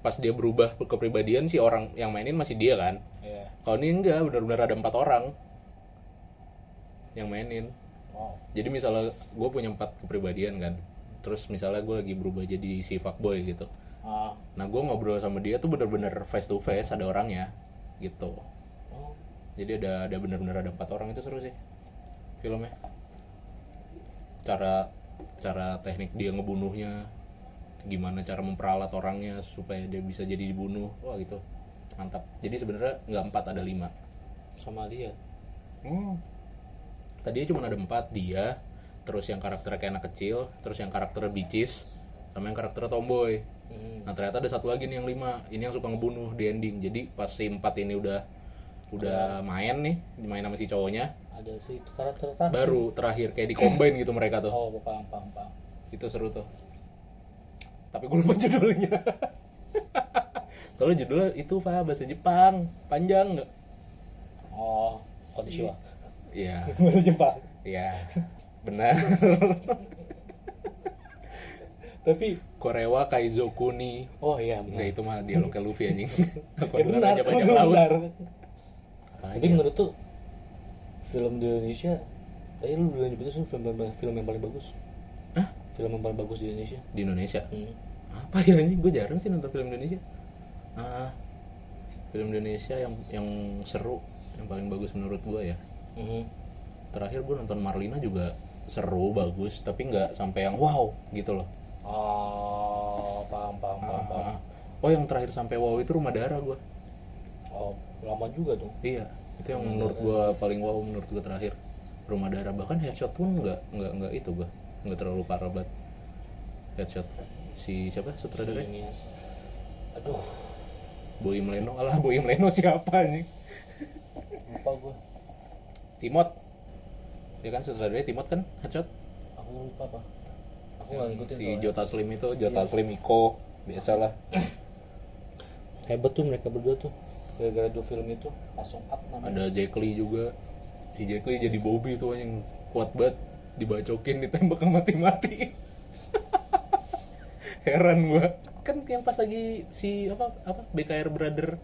pas dia berubah kepribadian si orang yang mainin masih dia kan
Iya.
kalau ini enggak benar-benar ada empat orang yang mainin
Wow.
jadi misalnya gue punya empat kepribadian kan terus misalnya gue lagi berubah jadi si fuckboy gitu
Ah.
nah gue ngobrol sama dia tuh bener-bener face to face ada orangnya gitu
Oh.
jadi ada ada bener-bener ada empat orang itu seru sih filmnya cara cara teknik dia ngebunuhnya gimana cara memperalat orangnya supaya dia bisa jadi dibunuh wah gitu mantap jadi sebenarnya nggak empat ada lima
Sama dia.
tadinya cuma ada empat dia terus yang karakternya kayak anak kecil terus yang karakternya bicis sama yang karakternya tomboy nah ternyata ada satu lagi nih yang lima ini yang suka ngebunuh di ending jadi pas si empat ini udah udah main nih main sama si cowoknya
ada sih itu karakter kan
baru terakhir kayak di combine gitu mereka tuh
oh paham paham paham
itu seru tuh tapi gue lupa judulnya soalnya judulnya itu pak bahasa Jepang panjang nggak
oh kondisi wah
iya
bahasa Jepang
iya benar
tapi
Korewa Kaizoku ni
oh iya
Nggak,
benar
Nah, itu mah dialognya Luffy anjing
ya
Korewa
benar
Raja Bajak Laut.
benar
Apalagi
tapi
ya?
menurut tuh film di Indonesia tadi lu bilang juga sih film film yang paling bagus
Hah?
film yang paling bagus di Indonesia
di Indonesia
hmm.
apa ya anjing gue jarang sih nonton film Indonesia ah film Indonesia yang yang seru yang paling bagus menurut gue ya
Mhm.
terakhir gue nonton Marlina juga seru bagus tapi nggak sampai yang wow gitu loh
oh paham paham paham paham
Ah. oh yang terakhir sampai wow itu rumah darah gue
oh lama juga tuh
iya itu yang menurut gue paling wow menurut gue terakhir rumah darah bahkan headshot pun nggak nggak nggak itu gue nggak terlalu parah banget headshot si siapa sutradaranya
ini aduh
Boy Leno alah Boy Leno siapa nih
lupa gue
Timot ya kan sutradaranya Timot kan headshot
aku lupa apa aku nggak ngikutin Iya.
si Jota Slim itu Jota Slim Iko biasalah
hebat tuh mereka berdua tuh gara-gara dua film itu langsung up namanya
ada Jack Lee juga si Jack Lee jadi Bobby tuh yang kuat banget dibacokin ditembak mati-mati heran gua kan yang pas lagi si apa apa BKR Brother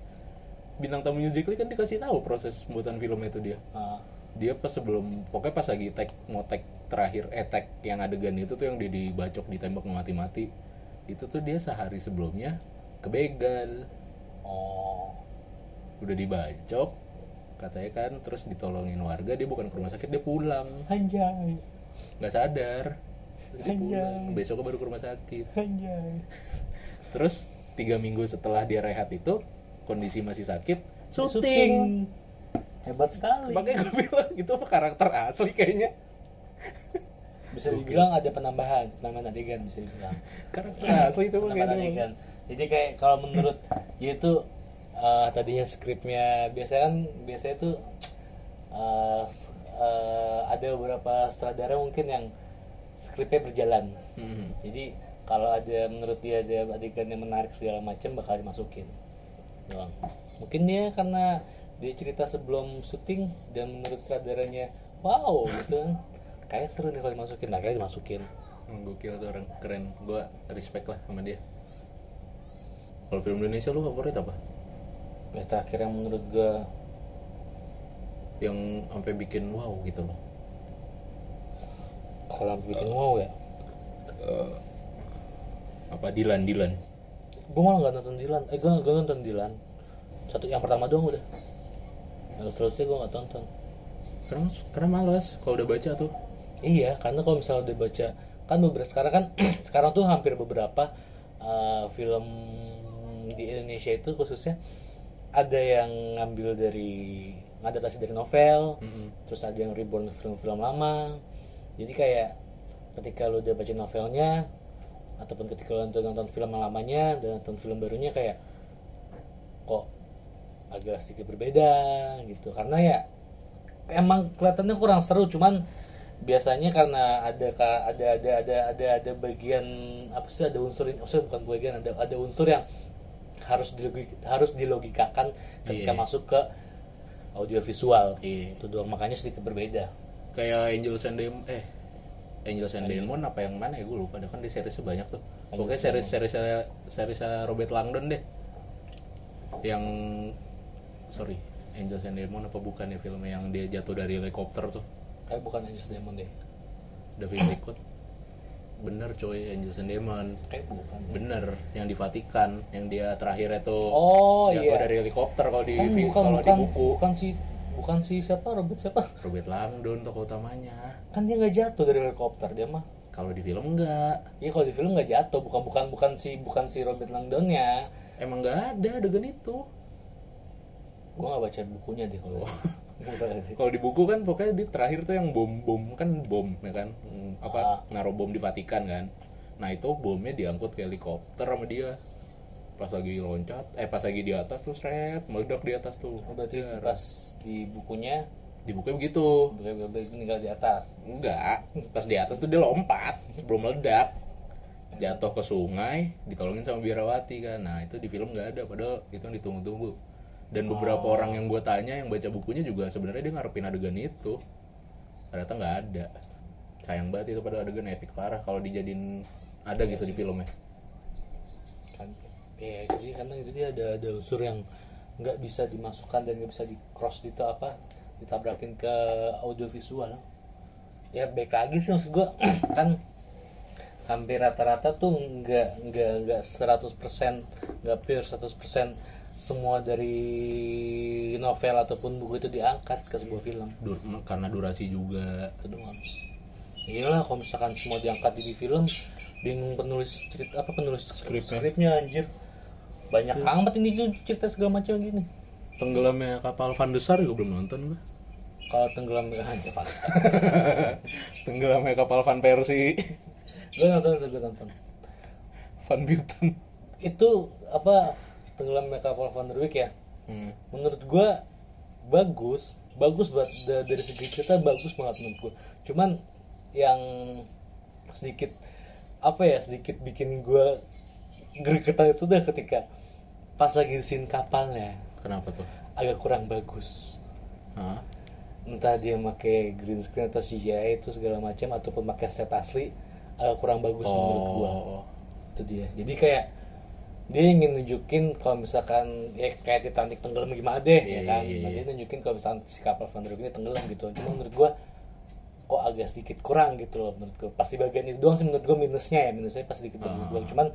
bintang tamunya Jack Lee kan dikasih tahu proses pembuatan filmnya itu dia
Ah,
dia pas sebelum pokoknya pas lagi tag mau tag terakhir eh tag yang adegan itu tuh yang dia dibacok ditembak mati-mati itu tuh dia sehari sebelumnya ke begal
oh
udah dibacok katanya kan terus ditolongin warga dia bukan ke rumah sakit dia pulang
anjay
nggak sadar Terus dia
Anjay.
pulang besoknya baru ke rumah sakit
anjay
terus tiga minggu setelah dia rehat itu kondisi masih sakit
syuting
syuting
hebat sekali
makanya gue bilang itu karakter asli kayaknya
bisa dibilang ada penambahan penambahan adegan bisa dibilang
karakter asli itu iya.
penambahan
makanya
adegan jadi kayak kalau menurut dia itu eh, tadinya skripnya biasanya kan biasanya tuh eh, s- eh, ada beberapa sutradara mungkin yang skripnya berjalan
Hmm.
jadi kalau ada menurut dia ada adegan yang menarik segala macam bakal dimasukin doang mungkin dia karena dia cerita sebelum syuting dan menurut sutradaranya wow gitu kan kayak seru nih kalau dimasukin nah akhirnya dimasukin
Hmm, Gokil tuh orang keren. Gua respect lah sama dia. Kalau film Indonesia lu favorit apa?
Nah, terakhir yang menurut gue
Yang sampai bikin wow gitu loh.
kalau bikin wow ya
Apa Dilan Dilan?
gue malah nggak nonton Dilan eh gue gue nonton Dilan satu yang pertama doang udah yang seterusnya gue nggak tonton
Karena karena malas kalau udah baca tuh.
Iya, karena kalau misalnya udah baca kan beberapa sekarang kan sekarang tuh hampir beberapa uh, film di Indonesia itu khususnya ada yang ngambil dari ngadaptasi dari novel, terus ada yang reborn film-film lama. Jadi kayak ketika lu udah baca novelnya ataupun ketika lu udah nonton film lamanya dan nonton film barunya kayak kok agak sedikit berbeda gitu karena ya emang kelihatannya kurang seru cuman biasanya karena ada ka- ada ada ada ada ada bagian apa sih ada unsur ini maksudnya bukan bagian ada ada unsur yang harus dilogi- harus dilogikakan ketika
Iya.
masuk ke audiovisual
Iya.
itu doang makanya sedikit berbeda
Kayak Angel and Dem- eh Angel and Demon apa yang mana ya gue lupa. Ada kan di seriesnya banyak tuh. Pokoknya series series series Robert Langdon deh. Yang sorry Angel and Demon apa bukan ya filmnya yang dia jatuh dari helikopter tuh?
kayak bukan Angels Demon deh
David
Eh.
Rickot bener coy Angels and Demon
kayak bukan
bener yang di Vatikan yang dia terakhir itu
oh
jatuh
iya
dari helikopter kalau di
kan bukan
kalau di
bukan
buku
bukan si bukan si siapa Robert siapa
Robert Langdon tokoh utamanya
kan dia nggak jatuh dari helikopter dia mah
kalau di film enggak
Iya kalau di film nggak jatuh, bukan bukan bukan si bukan si Robert Langdonnya.
emang enggak ada adegan itu
Gue nggak baca bukunya deh kalau. Gua salah deh.
kalau di buku kan pokoknya di terakhir tuh yang bom bom kan bom ya kan Hmm, apa naruh bom di Vatikan kan nah itu bomnya diangkut ke helikopter sama dia pas lagi loncat eh pas lagi di atas terus rep meledak di atas tuh
Oh, berarti pas di bukunya
dibuka begitu
bebek meninggal di atas
enggak pas di atas tuh dia lompat sebelum meledak jatuh ke sungai ditolongin sama biarawati kan nah itu di film nggak ada padahal itu yang ditunggu-tunggu dan beberapa orang yang gue tanya yang baca bukunya juga sebenarnya dia ngarepin adegan itu ternyata nggak ada sayang banget itu pada adegan epic parah kalau dijadiin ada gitu di filmnya
kan ya jadi karena itu dia ada ada unsur yang nggak bisa dimasukkan dan nggak bisa di cross itu apa ditabrakin ke audiovisual ya baik lagi sih maksud gua kan hampir rata-rata tuh nggak nggak nggak 100% nggak pure 100% semua dari novel ataupun buku itu diangkat ke sebuah film
Dur- karena durasi juga
itu doang iyalah kalau misalkan semua diangkat di film bingung penulis cerita apa penulis skripnya, anjir banyak amat ini tuh cerita segala macam gini
tenggelamnya kapal Van Desar juga belum nonton gue
kalau tenggelam anjir Van.
tenggelamnya kapal Van Persie
gue nonton gue nonton
Van Buten
itu apa tenggelamnya kapal Van der Wijk ya
Hmm.
menurut gue bagus bagus buat da- dari segi cerita bagus banget menurut gue cuman yang sedikit apa ya sedikit bikin gue gregetan itu udah ketika pas lagi di scene kapalnya
kenapa tuh
agak kurang bagus
Hah?
entah dia pakai green screen atau CGI itu segala macam ataupun pakai set asli agak kurang bagus menurut
Oh.
gua itu dia jadi kayak dia ingin nunjukin kalau misalkan ya kayak Titanic tenggelam gimana deh ya kan Nah, dia nunjukin kalau misalkan si kapal Van der Wijk ini tenggelam gitu cuma menurut gua kok agak sedikit kurang gitu loh menurut gua pasti bagian itu doang sih menurut gua minusnya ya minusnya pas sedikit menurut gua cuman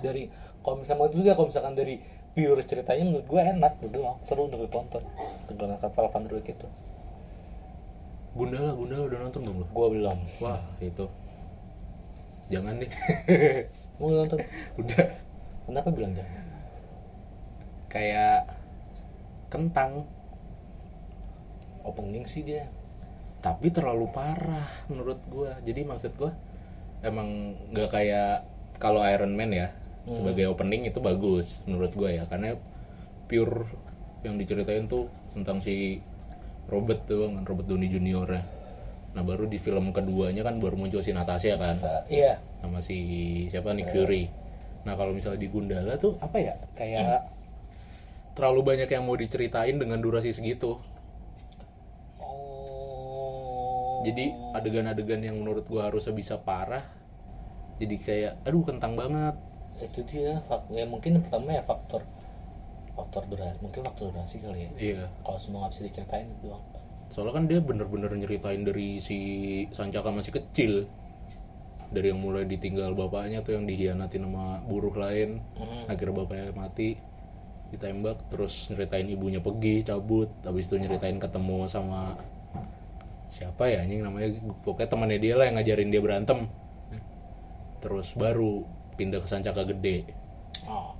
dari kalau misalkan juga kalau misalkan dari pure ceritanya menurut gua enak gitu loh seru untuk ditonton tenggelam kapal Van der Wijk itu
Gundala, Gundala udah nonton belum lu?
gua belum
Wah, itu. Jangan deh.
mau nonton
udah
kenapa bilang jangan
kayak kentang,
opening sih dia
tapi terlalu parah menurut gua. Jadi maksud gua emang nggak kayak kalau Iron Man ya sebagai opening itu bagus menurut gua ya karena pure yang diceritain tuh tentang si Robert tuh kan Robert Downey Junior ya. Nah baru di film keduanya kan baru muncul si Natasha kan.
iya
sama si siapa Nick Fury. Nah kalau misalnya di Gundala tuh apa ya kayak terlalu banyak yang mau diceritain dengan durasi segitu.
oh
Jadi adegan-adegan yang menurut gua harusnya bisa parah. Jadi kayak aduh kentang banget.
itu dia fak ya mungkin yang pertama ya faktor faktor durasi mungkin faktor durasi kali ya
Iya.
kalau semua nggak bisa diceritain itu doang
Soalnya kan dia bener-bener nyeritain dari si Sancaka masih kecil. Dari yang mulai ditinggal bapaknya tuh yang dihianati sama buruh lain. Akhirnya bapaknya mati ditembak terus nyeritain ibunya pergi cabut habis itu nyeritain ketemu sama siapa ya anjing namanya pokoknya temannya dia lah yang ngajarin dia berantem terus baru pindah ke Sancaka gede
oh.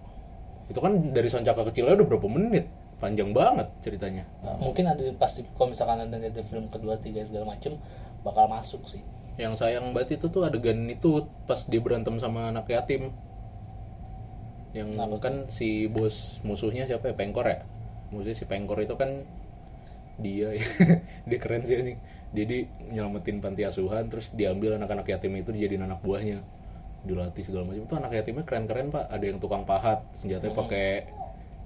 itu kan dari Sancaka kecilnya udah berapa menit panjang banget ceritanya
Nah, mungkin ada pasti kalau misalkan ada ada film kedua tiga segala macem bakal masuk sih
yang sayang banget itu tuh adegan itu pas dia berantem sama anak yatim yang kan si bos musuhnya siapa ya pengkor ya musuhnya si pengkor itu kan dia ya. dia keren sih anjing jadi nyelamatin panti asuhan terus diambil anak-anak yatim itu dijadiin anak buahnya dilatih segala macam itu anak yatimnya keren-keren pak ada yang tukang pahat senjatanya pakai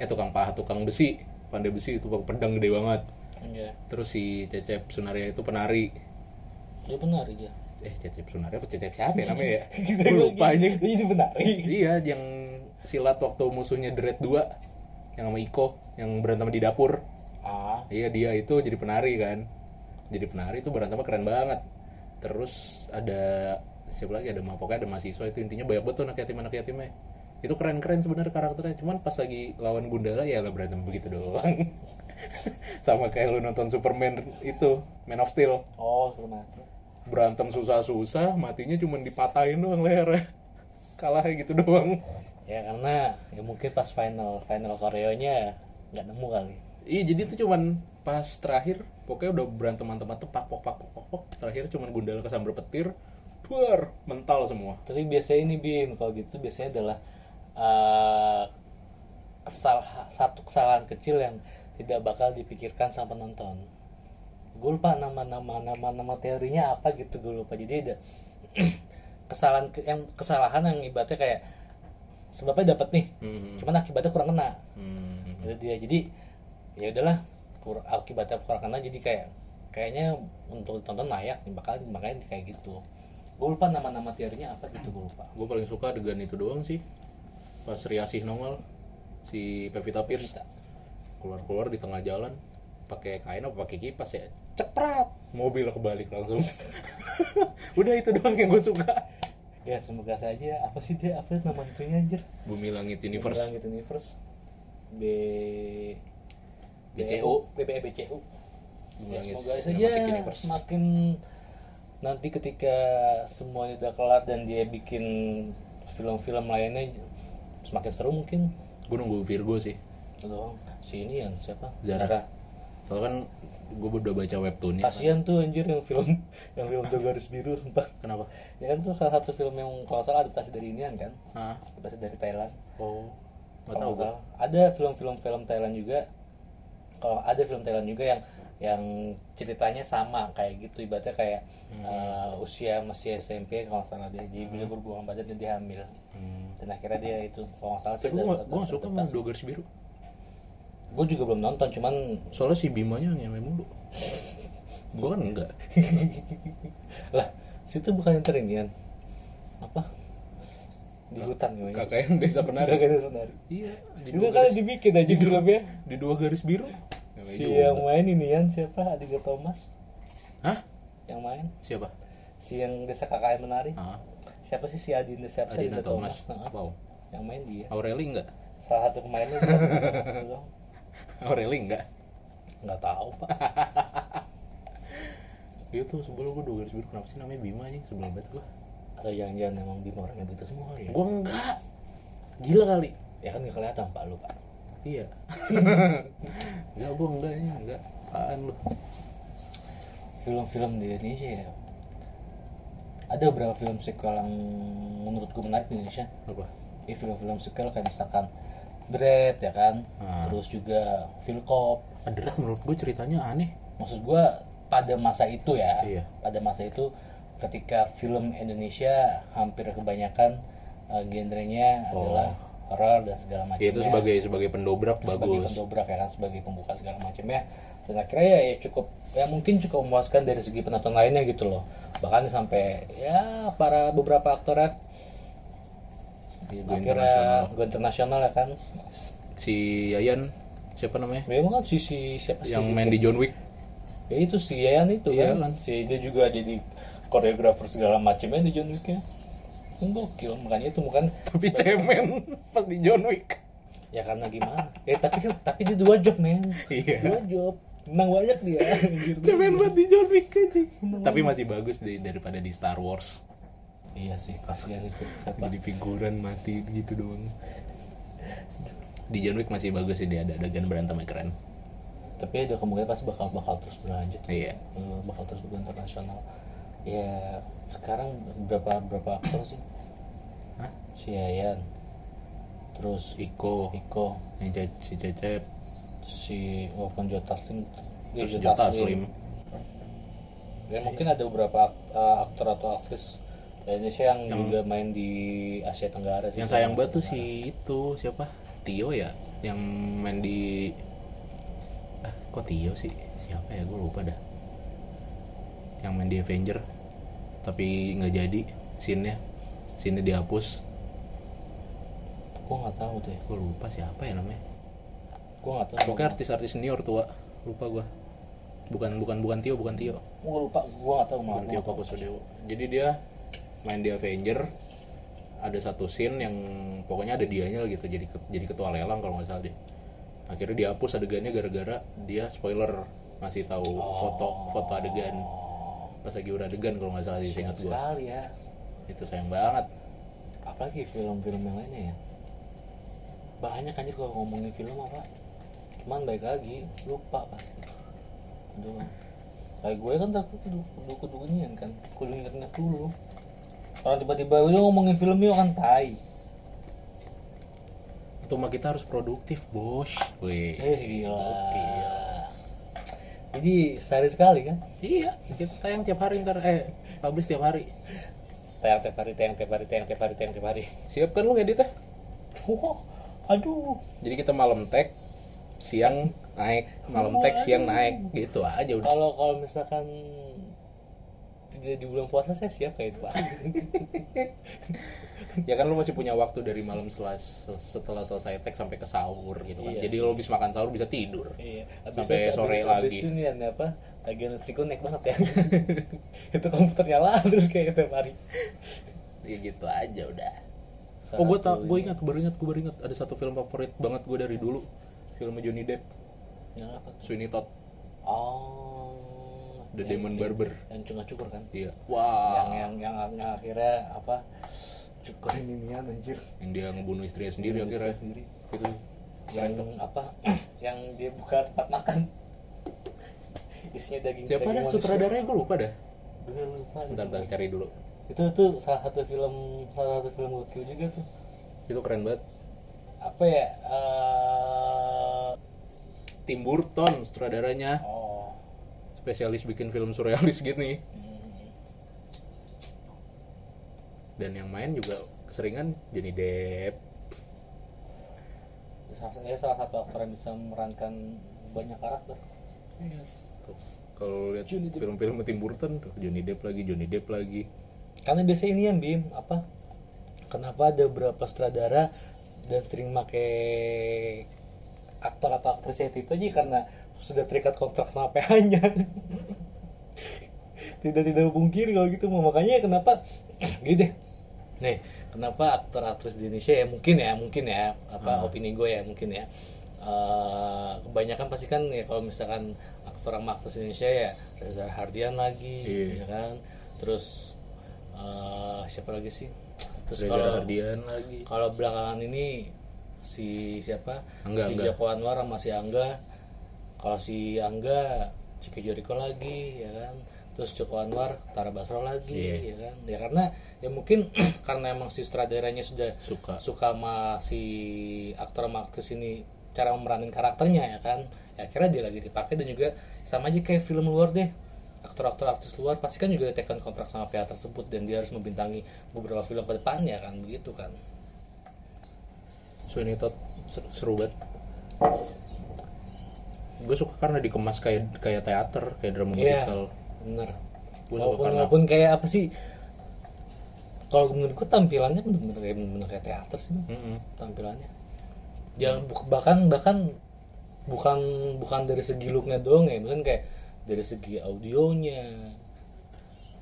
eh tukang pahat tukang besi pandai besi itu pakai pedang gede banget
iya
terus si cecep sunaria itu penari
dia Iya, benar dia
eh cecep sunarnya apa cecep siapa ya namanya ya gue lupa anjing
dia jadi benar
iya yang silat waktu musuhnya deret dua yang sama Iko yang berantem di dapur
ah
iya dia itu jadi penari kan jadi penari itu berantem keren banget terus ada siapa lagi ada mapoknya ada mahasiswa itu intinya banyak banget tuh anak yatim anak yatimnya itu keren keren sebenarnya karakternya cuman pas lagi lawan Gundala ya lah berantem begitu doang sama kayak lu nonton Superman itu Man of Steel
oh belum mati
berantem susah-susah matinya cuma dipatahin doang lehernya kalahnya gitu doang
ya karena ya mungkin pas final final koreonya nggak nemu kali
iya jadi itu cuman pas terakhir pokoknya udah berantem mantep-mantep pak pok pak pok pak pok terakhir cuman gundala kesambar petir duar mental semua
tapi biasanya ini bim kalau gitu biasanya adalah eh, kesal satu kesalahan kecil yang tidak bakal dipikirkan sama penonton gue lupa nama nama nama nama teorinya apa gitu gue lupa jadi ada kesalahan ke- yang kesalahan yang ibaratnya kayak sebabnya dapat nih cuman akibatnya kurang kena
Hmm.
itu dia jadi ya udahlah kur- akibatnya kurang kena jadi kayak kayaknya untuk ditonton layak nih bakal makanya kayak gitu gue lupa nama-nama teorinya apa gitu gue lupa
gue paling suka adegan itu doang sih pas Riasih nongol si Pevita Pierce keluar keluar di tengah jalan pakai kain apa pakai kipas ya ceprat mobil kebalik langsung udah itu doang yang gue suka
ya semoga saja apa sih dia apa nama itunya anjir
Bumi Langit
Bilang
Universe
gitu universe B
BCU.
BPE BCU ya,
Bilang gitu,
semoga saja
Cinematic Universe.
semakin nanti ketika semuanya udah kelar dan dia bikin film-film lainnya semakin seru mungkin
gue nunggu Virgo sih
Aduh, si ini yang siapa?
Zara, soalnya kan gue udah baca webtoonnya kan.
Kasian tuh anjir yang film yang film Dua Garis Biru sumpah.
kenapa
Ya kan tuh salah satu film yang kalau nggak salah adaptasi dari inian kan.
Hah?
Adaptasi dari Thailand.
oh nggak tahu
Kalau nggak
gue
salah. Ada film-film film Thailand juga. Kalau ada film Thailand juga yang yang ceritanya sama kayak gitu ibaratnya kayak
Hmm.
eh, usia masih SMP kalau nggak salah dia jadi beliau berbuang badan dan dia hamil dan akhirnya dia itu kalau nggak salah sih
Hmm. tapi gue gue suka sama dua garis biru
gue juga belum nonton cuman
soalnya si Bimanya ngewe mulu gue kan enggak
lah situ bukan yang terinian apa di hutan namanya
kakaknya desa
ada
penari
kan sebenarnya
iya di
itu
dua
kali
garis
dibikin aja filmnya
di dua garis biru Ngewe
si
juga.
yang main ini Yan, siapa Adiga Thomas
hah
yang main
siapa
si yang desa kakak yang menari
ah
siapa sih si Adinda siapa sih
Adina
Adiga Thomas,
Thomas
Nah,
wow
yang main dia
Aureli enggak
salah satu pemainnya dia, Thomas doang.
Aureli enggak
nggak tahu pak
itu sebelum gue dua garis biru kenapa sih namanya Bima anjing sebelum banget gue
atau jangan-jangan emang Bima orangnya begitu semua kali ya
gue enggak gila kali
ya kan nggak kelihatan pak lu pak
iya enggak gue enggak ini enggak apaan lu
film-film di Indonesia ya ada beberapa film sequel yang menurutku menarik di Indonesia
apa
ya film-film sequel kayak misalkan Dread ya kan terus juga Vilkop
adalah menurut gue ceritanya aneh
maksud gua pada masa itu ya
Iya.
pada masa itu ketika film Indonesia hampir kebanyakan eh, genrenya adalah horor dan segala macam
ya itu sebagai sebagai pendobrak
sebagai
bagus
pendobrak ya kan sebagai pembuka segala macamnya dan akhirnya ya, ya cukup ya mungkin cukup memuaskan dari segi penonton lainnya gitu loh bahkan sampai ya para beberapa aktorat
Iya, gue internasional
akhirnya go internasional ya kan
si Yayan siapa namanya
memang kan si, si siapa sih
yang main di John Wick
ya itu si Yayan itu
Iya
kan
kan.
si dia juga jadi koreografer segala macamnya di John Wicknya Kan gokil makanya itu bukan
tapi cemen pas di John Wick
ya karena gimana ya tapi tapi dia dua job men
Iya.
dua job menang banyak dia Anjir.
cemen banget di John Wick aja tapi masih bagus di- daripada di Star Wars
iya sih kasihan itu siapa
jadi figuran mati gitu doang di John Wick masih bagus sih dia ada adegan berantemnya keren
tapi ada kemungkinan pasti bakal bakal terus berlanjut
Iya.
Eh, bakal terus berlanjut internasional ya sekarang berapa berapa aktor sih
Hah?
si Yayan terus
Iko
Iko
yang Ce- si Cecep
si walaupun Joe Taslim dia
terus Iya, Jota Iya. Slim
ya mungkin ada beberapa ak- eh, aktor atau aktris Indonesia yang, juga main di Asia Tenggara sih
yang sayang banget tuh si itu siapa Tio ya yang main di ah kok Tio sih siapa ya gue lupa dah yang main di Avenger tapi nggak jadi scene-nya scene dihapus
gue nggak tahu tuh ya
gue lupa siapa ya namanya
gue nggak tahu
pokoknya artis-artis senior tua lupa gue bukan bukan bukan Tio bukan Tio
gue lupa gue nggak tahu
bukan
malah
Tio Pakusadewo jadi dia main di Avenger ada satu scene yang pokoknya ada dianya lah gitu jadi ke- jadi ketua lelang kalau nggak salah deh akhirnya dihapus adegannya gara-gara dia spoiler ngasih tahu foto foto adegan pas lagi beradegan kalau nggak salah sih ingat gue
sekali ya
itu sayang banget
apalagi film-film yang lainnya ya banyak anjir kalau ngomongin film apa cuman baik lagi lupa pasti aduh kayak gue kan takut kudu kudu kudu ini kan kudu ingat ingat dulu kalau tiba-tiba lu ngomongin film yuk kan tai
itu mah kita harus produktif bos weh
Eh gila. Jadi sehari sekali kan?
iya kita tayang tiap hari ntar eh publish tiap hari
Tayang tiap hari, tayang tiap hari, tayang tiap hari, tayang tiap hari.
siap kan lu ngeditnya
Wah, aduh.
jadi kita malam tag siang naik malam tag siang naik gitu aja udah
Kalau kalau misalkan tidak di bulan puasa saya siap kayak itu pak.
ya kan lu masih punya waktu dari malam setelah setelah selesai tag sampai ke sahur gitu kan
Iya
jadi lu habis makan sahur bisa tidur
Iya.
Sampai sore
abis
lagi.
itu nih ada apa? Tagihan listrik gua naik banget ya. itu komputer nyala terus kayak tiap hari.
ya gitu aja udah
Saat
oh gue tau gue ingat baru ingat gue baru ingat ada satu film favorit banget gue dari dulu filmnya Johnny Depp
Yang apa? tuh?
Sweeney Todd
Oh.
The Demon Barber
Yang cuma cukur kan?
iya
Yang,
wah
yang yang yang akhirnya apa? Cukur ini nih anjir.
yang dia ngebunuh istrinya sendiri Iya, akhirnya Gitu.
sendiri.
itu
yang apa yang dia buka tempat makan isinya daging
siapa
daging
dah
manusia.
sutradaranya gue lupa dah
Bener, lupa
bentar bentar cari dulu
itu tuh salah satu film salah satu film gokil juga tuh
itu keren banget
apa ya eh
Tim Burton sutradaranya
oh
spesialis bikin film surrealis gitu gini
hmm.
dan yang main juga keseringan Johnny Depp
salah, ya, salah satu aktor yang bisa memerankan banyak karakter
Tuh, kalau lihat film-film Tim Burton tuh Johnny Depp lagi Johnny Depp lagi
karena biasanya ini yang bim apa kenapa ada beberapa sutradara dan sering make aktor atau aktris yang itu aja karena sudah terikat kontrak sama PH-nya tidak tidak pungkiri kalau gitu mau makanya kenapa gitu deh nih kenapa aktor aktris di Indonesia ya mungkin ya mungkin ya apa opini gue ya mungkin ya Eh, kebanyakan pasti kan ya kalau misalkan aktor sama aktris Indonesia ya Reza Hardian lagi
Iya.
ya kan terus eh, siapa lagi sih terus
Reza
kalau
Hardian lagi
kalau belakangan ini si siapa
Angga,
si
Angga.
Joko Anwar sama si Angga kalau si Angga Ciki Juriko lagi ya kan terus Joko Anwar Tara Basro lagi
Iya.
ya kan ya karena ya mungkin karena emang si sutradaranya sudah
suka
suka sama si aktor sama aktris ini cara memeranin karakternya ya kan ya akhirnya dia lagi dipakai dan juga sama aja kayak film luar deh aktor-aktor aktris luar pasti kan juga tekan kontrak sama pihak tersebut dan dia harus membintangi beberapa film ke depannya kan begitu kan
Sweeney Todd seru, seru banget gue suka karena dikemas kayak kayak teater kayak drama
Iya,
musikal
bener.
Gua
Walaupun,
suka karena-
walaupun kayak apa sih? Kalau menurutku tampilannya bener-bener kayak bener kayak teater sih
Mm-mm. Ya.
tampilannya. Jangan bu- bahkan bahkan bukan bukan dari segi looknya doang ya, bukan kayak dari segi audionya.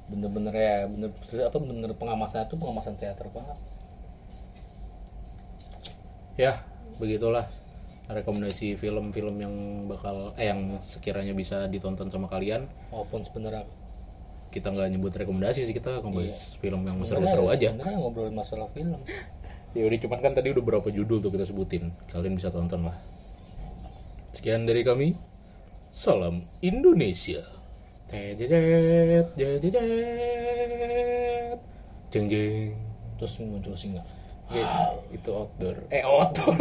Bener-bener ya, bener apa bener pengamasan itu pengamasan teater banget.
ya begitulah rekomendasi film-film yang bakal eh yang sekiranya bisa ditonton sama kalian
Walaupun sebenarnya
kita nggak nyebut rekomendasi sih kita ngebahas film yang seru-seru aja
ya, Sebenarnya ngobrolin masalah film.
ya udah cuman kan tadi udah berapa judul tuh kita sebutin kalian bisa tonton lah sekian dari kami salam Indonesia tejejet jejejet jeng jeng
Terus muncul singa.
Ya, itu outdoor eh outdoor